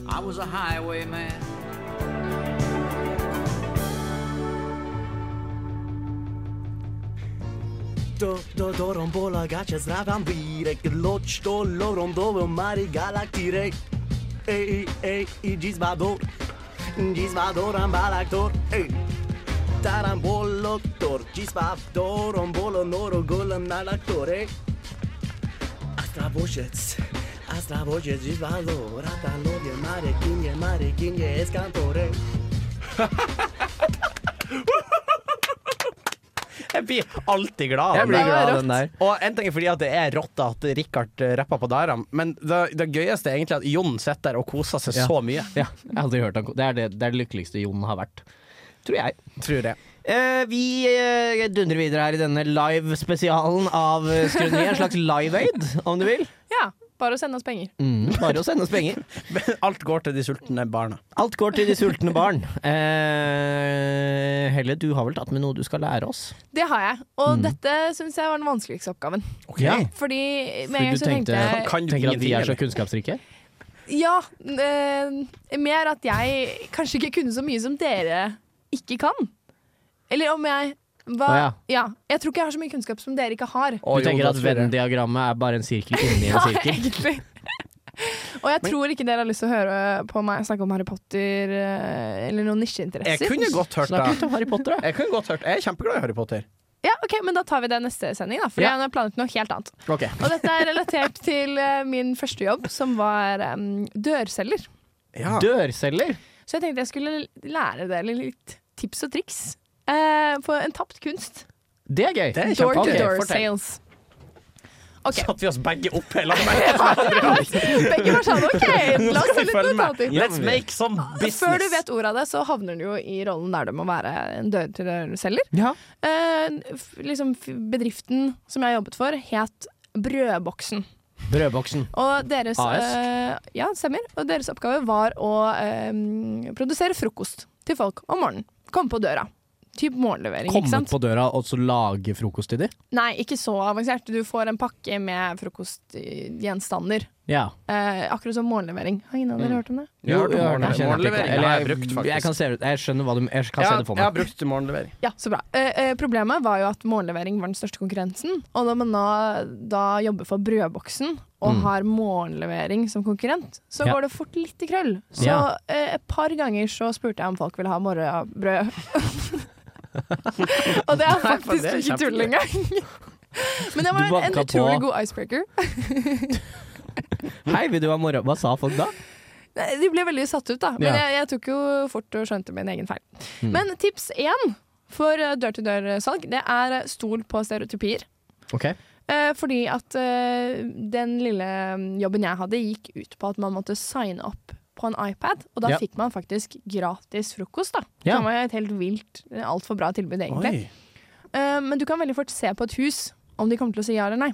Speaker 9: I was a highwayman.
Speaker 10: Do, do, dorom bola gaće zdravam virek Loč to lorom dovo mari galaktire Ej, ej, i džizbador Džizbadoram balaktor Ej, taram boloktor Džizbadorom bolo noro golem nalaktor Ej, astravožec Astravožec džizbador Atanov je mare kinje, mare kinje eskantor Ej
Speaker 3: Jeg blir alltid glad. av
Speaker 2: Jeg blir
Speaker 3: den.
Speaker 2: glad av den der.
Speaker 3: Og en ting er fordi at det er rått at Richard eh, rapper på Daram, men det, det gøyeste er egentlig at Jon sitter der og koser seg
Speaker 2: Ja.
Speaker 3: så mye.
Speaker 2: Ja, jeg har aldri hørt han ko- Det er det, det er det lykkeligste Jon har vært. Tror jeg.
Speaker 3: Tror jeg.
Speaker 2: Eh, vi eh, dundrer videre her i denne live-spesialen av eh, Skrøneriet. En slags live-aid, om du vil.
Speaker 4: Ja, bare å sende oss penger.
Speaker 2: Mm, bare å sende oss penger.
Speaker 3: Men alt går til de sultne barna.
Speaker 2: Alt går til de sultne barn. Eh, Helle, du har vel tatt med noe du skal lære oss?
Speaker 4: Det har jeg. Og dette syns jeg var den vanskeligste oppgaven.
Speaker 2: Ja.
Speaker 4: Fordi med
Speaker 2: Fordi
Speaker 4: en gang
Speaker 2: du
Speaker 4: så tenkte
Speaker 2: tenkte-
Speaker 4: jeg
Speaker 3: Kan
Speaker 2: Eh,
Speaker 3: du
Speaker 2: Tenker at vi
Speaker 3: ingenting,
Speaker 2: er så
Speaker 3: eller?
Speaker 2: kunnskapsrike?
Speaker 4: Ja, eh, mer at jeg kanskje ikke kunne så mye som dere ikke kan. Eller om jeg hva,
Speaker 2: Å, ja.
Speaker 4: ja. Jeg tror ikke jeg har så mye kunnskap som dere ikke har.
Speaker 3: Å,
Speaker 2: Du
Speaker 3: Jon,
Speaker 2: tenker
Speaker 3: da
Speaker 2: at
Speaker 3: tror jeg-
Speaker 2: Venn-diagrammet er bare en sirkel inni en sirkel?
Speaker 4: egentlig. Og jeg tror ikke dere har lyst til å høre på meg snakke om Harry Potter eh, eller noen
Speaker 3: Jeg
Speaker 4: nisjeinteresser.
Speaker 3: kunne godt hørt
Speaker 2: Snakk
Speaker 3: det.
Speaker 2: litt om Harry Potter, da.
Speaker 3: Jeg kunne godt hørt Jeg er kjempeglad i Harry Potter.
Speaker 4: Ja, ok, Men da tar vi det neste sending, da. For
Speaker 2: Ja.
Speaker 4: jeg har planlagt noe helt annet.
Speaker 2: Ok.
Speaker 4: Og dette er relatert til eh, min første jobb, som var eh, dørselger.
Speaker 3: Ja.
Speaker 2: Dørceller?
Speaker 4: Så jeg tenkte jeg skulle lære dere litt tips og triks eh, på en tapt kunst.
Speaker 2: Det er gøy.
Speaker 3: Det er
Speaker 4: Door to
Speaker 3: kjempeartig.
Speaker 4: door
Speaker 3: Fortell.
Speaker 4: sales. Ok,
Speaker 3: Satt vi oss begge opp hele veien?
Speaker 4: Begge var sånn OK, la oss se litt
Speaker 3: følge med.
Speaker 4: notater.
Speaker 3: Let's make some business.
Speaker 4: Før du vet ordet av det, så havner du jo i rollen der du må være en dør-til-dør-selger.
Speaker 2: Ja.
Speaker 4: Eh, f- liksom f- bedriften som jeg jobbet for, het Brødboksen.
Speaker 2: Brødboksen.
Speaker 4: Og deres,
Speaker 2: AS?
Speaker 4: eh, ja, det stemmer. Og deres oppgave var å eh, produsere frokost til folk om morgenen. Komme på døra. Typ morgenlevering, ikke
Speaker 2: Komme
Speaker 4: sant?
Speaker 2: på døra og så lage frokost til dem?
Speaker 4: Nei, ikke så avansert. Du får en pakke med frokostgjenstander.
Speaker 2: Ja.
Speaker 4: Eh, akkurat som morgenlevering. Har ingen av dere hørt om det?
Speaker 3: Jeg har hørt om
Speaker 2: jeg kjenner at jeg
Speaker 3: morgenlevering.
Speaker 2: ikke-
Speaker 3: Morgenlevering
Speaker 2: eller
Speaker 3: har jeg brukt, faktisk.
Speaker 2: Jeg, kan se, jeg skjønner hva du Jeg kan se
Speaker 3: Ja,
Speaker 2: det for
Speaker 3: Jeg
Speaker 2: meg.
Speaker 3: har brukt morgenlevering.
Speaker 4: Ja, så bra. Eh, eh, problemet var jo at morgenlevering var den største konkurrensen. Og når man da, da jobber for Brødboksen og har morgenlevering som konkurrent, så
Speaker 2: Mm. Ja.
Speaker 4: går det fort litt i krøll. Så
Speaker 2: Ja.
Speaker 4: eh, et par ganger så spurte jeg om folk ville ha morgenbrød. og det er
Speaker 3: for det
Speaker 4: faktisk
Speaker 3: er
Speaker 4: ikke tull
Speaker 3: kjempegøy.
Speaker 4: engang. Men det
Speaker 2: Du
Speaker 4: var en
Speaker 2: banka på.
Speaker 4: utrolig god icebreaker.
Speaker 2: Hei, vil du ha morgen... Hva sa folk da?
Speaker 4: Nei, Eh, De ble veldig satt ut, da. Men
Speaker 2: Ja. Mm.
Speaker 4: jeg, jeg tok jo fort og skjønte min egen feil. Men tips én for eh, dør-til-dør-salg, det er eh, stol på stereotypier.
Speaker 2: Ok.
Speaker 4: Eh, fordi at eh, den lille mm, jobben jeg hadde, gikk ut på at man måtte signe opp på en iPad, og da
Speaker 2: Ja.
Speaker 4: fikk man faktisk gratis frokost, da.
Speaker 2: Ja.
Speaker 4: Det var et helt vilt, altfor bra tilbud, egentlig.
Speaker 3: Oi.
Speaker 4: Eh, men du kan veldig fort se på et hus om de kommer til å si ja eller nei.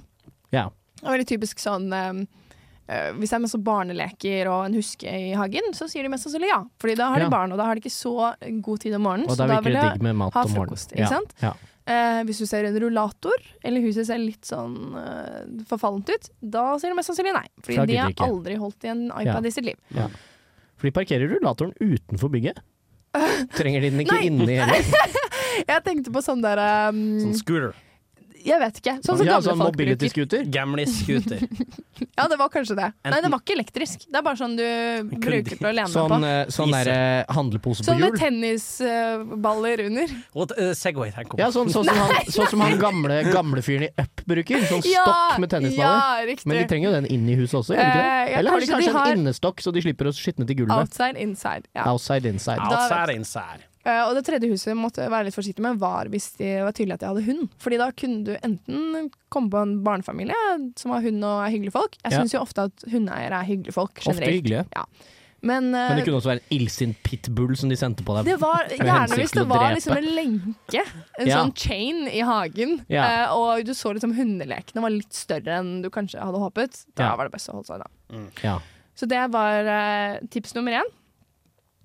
Speaker 2: Ja.
Speaker 4: Det er veldig typisk sånn um, eh, Hvis det er masse barneleker og en huske i hagen, så sier de mest sannsynlig ja. Fordi da har
Speaker 2: Ja.
Speaker 4: de barn, og da har de ikke så god tid om morgenen.
Speaker 2: Og
Speaker 4: så
Speaker 2: da virker
Speaker 4: vil
Speaker 2: det
Speaker 4: jeg-
Speaker 2: digg med mat
Speaker 4: ha
Speaker 2: om morgenen.
Speaker 4: frokost, ikke sant?
Speaker 2: Ja.
Speaker 4: eh, hvis du ser en rullator, eller huset ser litt sånn eh, forfallent ut, da sier de mest sannsynlig nei. Fordi
Speaker 2: Da
Speaker 4: de
Speaker 2: gidder
Speaker 4: har
Speaker 2: de ikke.
Speaker 4: aldri holdt i en iPad
Speaker 2: Ja.
Speaker 4: i sitt liv.
Speaker 2: For de parkerer rullatoren utenfor bygget. Trenger de den ikke inni heller?
Speaker 4: Jeg tenkte på sånn der um,
Speaker 3: Sånn scooter.
Speaker 4: Jeg vet ikke. Sånn som
Speaker 2: ja,
Speaker 4: gamle
Speaker 2: sånn
Speaker 4: folk bruker.
Speaker 2: mobility-scooter.
Speaker 3: Gamlis-scooter.
Speaker 4: Ja, det var kanskje det. Nei,
Speaker 3: Enten-
Speaker 4: det var ikke elektrisk. Det er bare sånn du bruker til å lene deg
Speaker 2: Sånn,
Speaker 4: på.
Speaker 2: eh, sånn
Speaker 3: Iser.
Speaker 2: derre handlepose på
Speaker 4: Sånn med
Speaker 2: hjul.
Speaker 4: tennisballer under.
Speaker 3: What, eh, Segway, tenk om.
Speaker 2: Ja, sånn, sånn, som han, sånn som han gamle, gamle fyren i Up bruker. Sånn stokk med tennisballer.
Speaker 4: Ja, riktig.
Speaker 2: Men de trenger jo den inn i huset også, gjør de ikke
Speaker 4: Eh,
Speaker 2: det?
Speaker 4: ja,
Speaker 2: Eller har de
Speaker 4: kanskje de
Speaker 2: kanskje
Speaker 4: har-
Speaker 2: en innestokk, så de slipper å skitne til gulvet?
Speaker 4: Outside, inside. Ja.
Speaker 2: Outside, inside.
Speaker 3: Outside, inside.
Speaker 4: Eh, og det tredje huset måtte være litt forsiktig med var hvis det var tydelig at jeg hadde hund. Fordi da kunne du enten komme på en barnefamilie som har hund og er hyggelige folk. Jeg
Speaker 2: Ja.
Speaker 4: syns jo ofte at hundeeiere er hyggelige folk
Speaker 2: Ofte
Speaker 4: generelt.
Speaker 2: hyggelige.
Speaker 4: Ja. Men, eh,
Speaker 2: Men det kunne også være en illsint pitbull som de sendte på deg.
Speaker 4: det var
Speaker 2: med
Speaker 4: gjerne
Speaker 2: hensikt
Speaker 4: hvis
Speaker 2: til å
Speaker 4: det var
Speaker 2: drepe.
Speaker 4: liksom en lenke, en
Speaker 2: Ja.
Speaker 4: sånn chain i hagen,
Speaker 2: Ja.
Speaker 4: eh, og du så liksom hundelekene var litt større enn du kanskje hadde håpet, da
Speaker 2: Ja.
Speaker 4: var det best å holde seg unna.
Speaker 2: ja.
Speaker 4: Så det var eh, tips nummer én.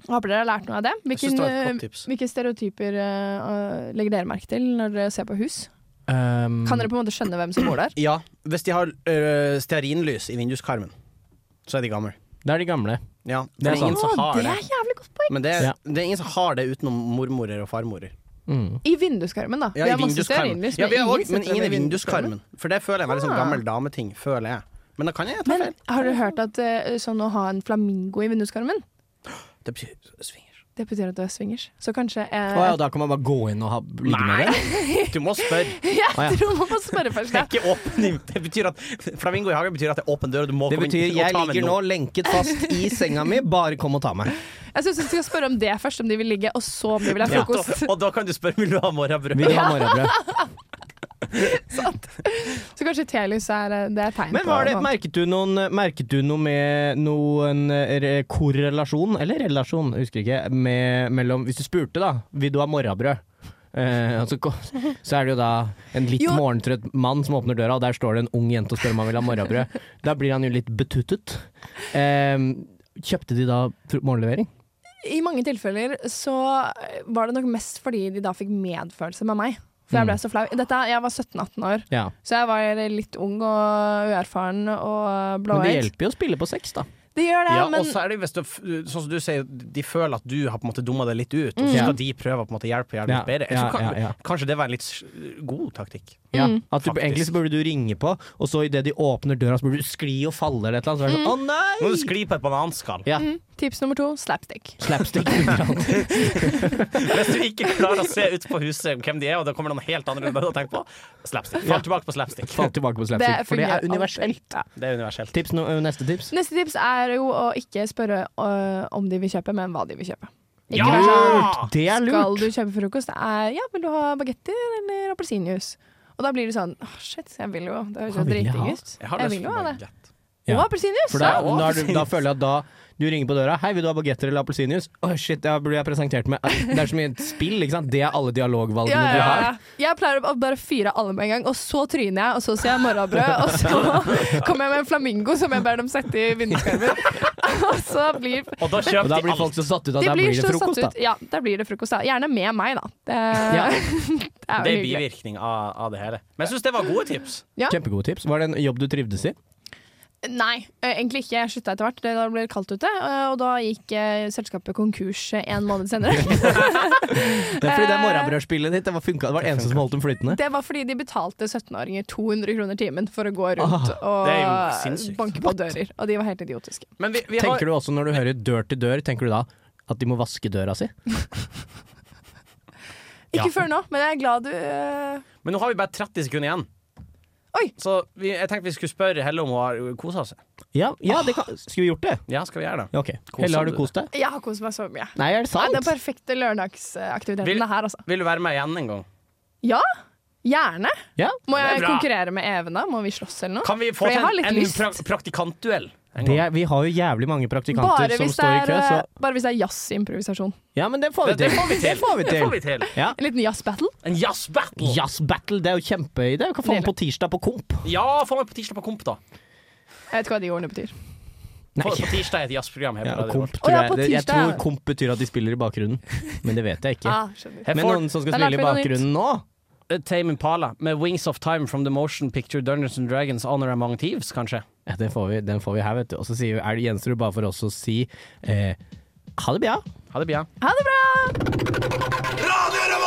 Speaker 4: Håper dere har lært noe av det.
Speaker 3: synes
Speaker 4: Hvilken,
Speaker 3: det var et godt
Speaker 4: eh,
Speaker 3: tips.
Speaker 4: hvilke stereotyper eh, eh, legger dere merke til når dere ser på hus?
Speaker 2: Ehm,
Speaker 3: Mm.
Speaker 4: Kan dere på en måte skjønne hvem som bor der?
Speaker 3: Ja, hvis de har øh, stearinlys i vinduskarmen, så er de gamle.
Speaker 2: Det er de gamle.
Speaker 3: Ja,
Speaker 2: er
Speaker 3: for det er ingen som
Speaker 4: Å,
Speaker 3: har
Speaker 4: det
Speaker 3: det.
Speaker 4: er jævlig godt poeng!
Speaker 3: Men det er,
Speaker 2: Ja.
Speaker 3: det er ingen som har det utenom mormorer og farmorer.
Speaker 2: Mm.
Speaker 4: I vinduskarmen, da.
Speaker 3: Ja, i
Speaker 4: vi har masse
Speaker 3: vinduskarmen.
Speaker 4: stearinlys,
Speaker 3: Ja, vi har
Speaker 4: ingen
Speaker 3: også- men
Speaker 4: sitter
Speaker 3: ingen i
Speaker 4: ved
Speaker 3: vinduskarmen. For det føler jeg er en veldig sånn
Speaker 4: Ah.
Speaker 3: gammel dameting, føler jeg. Men da kan jeg ta
Speaker 4: Men
Speaker 3: feil.
Speaker 4: har dere hørt at eh, sånn å ha en flamingo i vinduskarmen,
Speaker 3: Det betyr swingers.
Speaker 4: det betyr at du er swingers? Så kanskje
Speaker 2: Å
Speaker 4: eh,
Speaker 2: ja, da kan man bare gå inn og ha, ligge med det?
Speaker 3: Du må spørre.
Speaker 4: Jeg tror man må spørre først.
Speaker 3: Det
Speaker 4: Ja.
Speaker 3: er ikke åpen Det betyr at Flamingo i hagen betyr at det er åpen dør, og du må
Speaker 2: Det
Speaker 3: komme
Speaker 2: betyr
Speaker 3: inn og
Speaker 2: jeg
Speaker 3: ta med
Speaker 2: ligger nå
Speaker 3: noe.
Speaker 2: lenket fast i senga mi, bare kom og ta meg.
Speaker 4: Jeg syns vi skal spørre om det først, om de vil ligge, og så om de vil ha
Speaker 3: Ja,
Speaker 4: frokost.
Speaker 3: og, og da kan du spørre vil du ha morgenbrød.
Speaker 2: Vil du ha morgenbrød?
Speaker 4: Så kanskje telys er, eh, det er tegn
Speaker 2: Men
Speaker 4: på
Speaker 2: var det,
Speaker 4: noe.
Speaker 2: merket, du noen, merket du noe med noen eh, korrelasjon, eller relasjon, jeg husker ikke, med, mellom Hvis du spurte, da, vil du ha morgenbrød? Eh, altså, ko- så er det jo da en litt
Speaker 4: Jo.
Speaker 2: morgentrøtt mann som åpner døra, og der står det en ung jente og spør om han vil ha morgenbrød. Da blir han jo litt betuttet. Eh, kjøpte de da fr- morgenlevering?
Speaker 4: I mange tilfeller så eh, var det nok mest fordi de da fikk medfølelse med meg.
Speaker 2: Mm.
Speaker 4: For jeg ble så flau. Dette, jeg var 17-18 år,
Speaker 2: Ja.
Speaker 4: så jeg var litt ung og uerfaren
Speaker 2: Men
Speaker 4: og
Speaker 2: det
Speaker 4: blåøyd.
Speaker 2: hjelper jo å spille på sex, da.
Speaker 4: Det gjør det,
Speaker 3: Ja,
Speaker 4: men
Speaker 3: og så er det hvis du, sånn som du sier, de føler at du har på en måte dumma deg litt ut, og så
Speaker 2: Mm.
Speaker 3: skal de prøve å på en måte hjelpe og gjøre det
Speaker 2: Ja,
Speaker 3: litt bedre. Jeg tror
Speaker 2: ja,
Speaker 3: kan,
Speaker 2: ja, ja.
Speaker 3: Kanskje det var en litt s- god taktikk.
Speaker 2: Ja,
Speaker 4: Mm.
Speaker 2: at du,
Speaker 3: Faktisk.
Speaker 2: egentlig så burde du ringe på, og så idet de åpner døra, så burde du skli og falle eller et eller annet. Så er det sånn, å
Speaker 3: Må du skli på et bananskall.
Speaker 2: Ja.
Speaker 4: tips nummer to slapstick.
Speaker 2: nei! Slapstick. underhånd.
Speaker 3: Hvis du ikke klarer å se ut på huset hvem de er, og da kommer noen helt andre enn du tenker på, slapstick. Fall tilbake på slapstick.
Speaker 2: Fall tilbake på
Speaker 4: Det
Speaker 2: slapstick, for det
Speaker 4: fungerer
Speaker 2: er universelt.
Speaker 4: alltid. Ja.
Speaker 3: Det er universelt.
Speaker 2: Tips no, ø, neste tips.
Speaker 4: Neste tips er jo å ikke spørre øh, om de vil kjøpe, men hva de vil kjøpe. Ikke
Speaker 3: Ja!
Speaker 4: bare
Speaker 2: Det er
Speaker 4: sånn, Skal
Speaker 2: lurt!
Speaker 4: du kjøpe frokost? Det er, ja, vil du ha bagetter eller appelsinjuice? Og da blir det sånn åh, shit, jeg vil jo Det høres
Speaker 2: Hva
Speaker 4: jo
Speaker 2: vil jeg ha?
Speaker 4: dritdigg ut.
Speaker 3: har
Speaker 4: Jeg vil jo ha det.
Speaker 3: baguette.
Speaker 2: Ja.
Speaker 4: Og appelsinjuice!
Speaker 2: For da,
Speaker 4: ja.
Speaker 2: da, er du, da føler jeg at da du ringer på døra 'Hei, vil du ha bagetter eller appelsinjuice?' Å, shit, da burde jeg presentert med Det er så mye et spill, ikke sant? Det er alle dialogvalgene
Speaker 4: Ja, ja,
Speaker 2: du
Speaker 4: ja.
Speaker 2: har.
Speaker 4: Jeg pleier å bare fyre alle med en gang, og så tryner jeg, og så sier jeg morrabrød, og så kommer jeg med en flamingo som jeg ber dem sette i vinduskarmen. Og så blir
Speaker 3: Og da
Speaker 2: Og
Speaker 3: kjøper
Speaker 2: da
Speaker 3: de
Speaker 2: blir
Speaker 3: alt.
Speaker 2: folk så satt ut at
Speaker 4: de
Speaker 2: der
Speaker 4: blir
Speaker 2: blir det
Speaker 4: så
Speaker 2: frokost,
Speaker 4: satt
Speaker 2: da.
Speaker 4: ut. Ja, der blir det frokost, da. Gjerne med meg, da. Det,
Speaker 2: Ja.
Speaker 4: det er
Speaker 3: Det
Speaker 4: jo
Speaker 3: er
Speaker 4: hyggelig.
Speaker 3: bivirkning av, av det hele. Men jeg syns det var gode tips.
Speaker 4: Ja.
Speaker 2: Kjempegode tips. Var det en jobb du trivdes i?
Speaker 4: Nei, eh, egentlig ikke. Jeg slutta etter hvert. Det- Da ble det kaldt ute. eh, Og da gikk eh, selskapet konkurs eh, en måned senere.
Speaker 2: Det er fordi det morgenbrødspillet ditt det var, funka, det var det eneste som holdt dem flytende.
Speaker 4: Det var fordi de betalte 17-åringer 200 kroner timen for å gå rundt
Speaker 3: det er jo
Speaker 4: og eh,
Speaker 3: sinnssykt.
Speaker 4: banke på dører. Og de var helt idiotiske.
Speaker 3: Men vi, vi har
Speaker 2: Tenker du også når du hører dør til dør, tenker du da at de må vaske døra si?
Speaker 4: Ikke før nå, men jeg er glad du eh,
Speaker 3: Men nå har vi bare 30 sekunder igjen.
Speaker 4: Oi.
Speaker 3: Så vi, jeg tenkte vi skulle spørre Helle om hun har kosa seg.
Speaker 2: Ja, ja det kan, skulle vi gjort det?
Speaker 3: Ja, skal vi gjøre det?
Speaker 2: Ja, Ah. Ok. Helle, har du kost deg?
Speaker 4: Jeg har kost meg så mye.
Speaker 2: Nei, er det
Speaker 4: Nei, den
Speaker 2: sant?
Speaker 4: perfekte lørdagsaktiviteten
Speaker 3: Vil-
Speaker 4: er her, altså.
Speaker 3: Vil du være med igjen en gang?
Speaker 4: Ja, gjerne.
Speaker 2: Ja.
Speaker 4: Må
Speaker 3: Det er
Speaker 4: jeg
Speaker 3: bra.
Speaker 4: konkurrere med Even, da? Må vi slåss eller noe?
Speaker 3: Kan vi få
Speaker 4: For jeg har
Speaker 3: til
Speaker 4: litt
Speaker 3: en, en
Speaker 4: lyst.
Speaker 3: pra praktikantduell? En
Speaker 2: Det
Speaker 3: gang?
Speaker 2: er, vi har jo jævlig mange
Speaker 4: Bare
Speaker 2: praktikanter som
Speaker 4: hvis, det
Speaker 2: står i
Speaker 4: er,
Speaker 2: kø, så
Speaker 4: eh, bare hvis det er jazzimprovisasjon.
Speaker 2: Ja, men det får vi
Speaker 3: Det-
Speaker 2: til.
Speaker 3: det får vi til.
Speaker 2: Det får vi
Speaker 3: Det får vi
Speaker 2: til.
Speaker 3: til.
Speaker 2: Ja.
Speaker 4: En liten jazzbattle.
Speaker 3: En jazzbattle! Ja.
Speaker 2: Jazz battle, det er jo kjempeøy. Det er jo hva faen på tirsdag på Komp.
Speaker 3: få meg på tirsdag på Komp, da.
Speaker 4: Jeg vet ikke hva de ordene betyr.
Speaker 2: Nei.
Speaker 3: Få, på tirsdag er et jazzprogram. her på
Speaker 2: Ja,
Speaker 3: Radio Revolt.
Speaker 2: komp
Speaker 4: Å,
Speaker 2: tror
Speaker 4: ja,
Speaker 2: jeg,
Speaker 4: på
Speaker 2: det, jeg
Speaker 4: tirsdag,
Speaker 2: tror
Speaker 4: ja.
Speaker 2: Komp betyr at de spiller i bakgrunnen, men det vet jeg ikke.
Speaker 4: Ah, skjønner.
Speaker 3: Her
Speaker 2: Men
Speaker 3: får
Speaker 2: noen som skal
Speaker 4: Da lærte
Speaker 2: spille i
Speaker 4: vi noe nytt.
Speaker 2: bakgrunnen nå?
Speaker 3: eh, Tame Impala med 'Wings of Time from the Motion Picture Dungeons and Dragons Honor Among Thieves', kanskje.
Speaker 2: Ja, den får vi, den får vi her, vet du. Og så sier vi, er det gjenstår det bare for oss å si eh, ha det bra.
Speaker 3: Ha det bra.
Speaker 4: Ha det bra!
Speaker 8: Radio Revolt!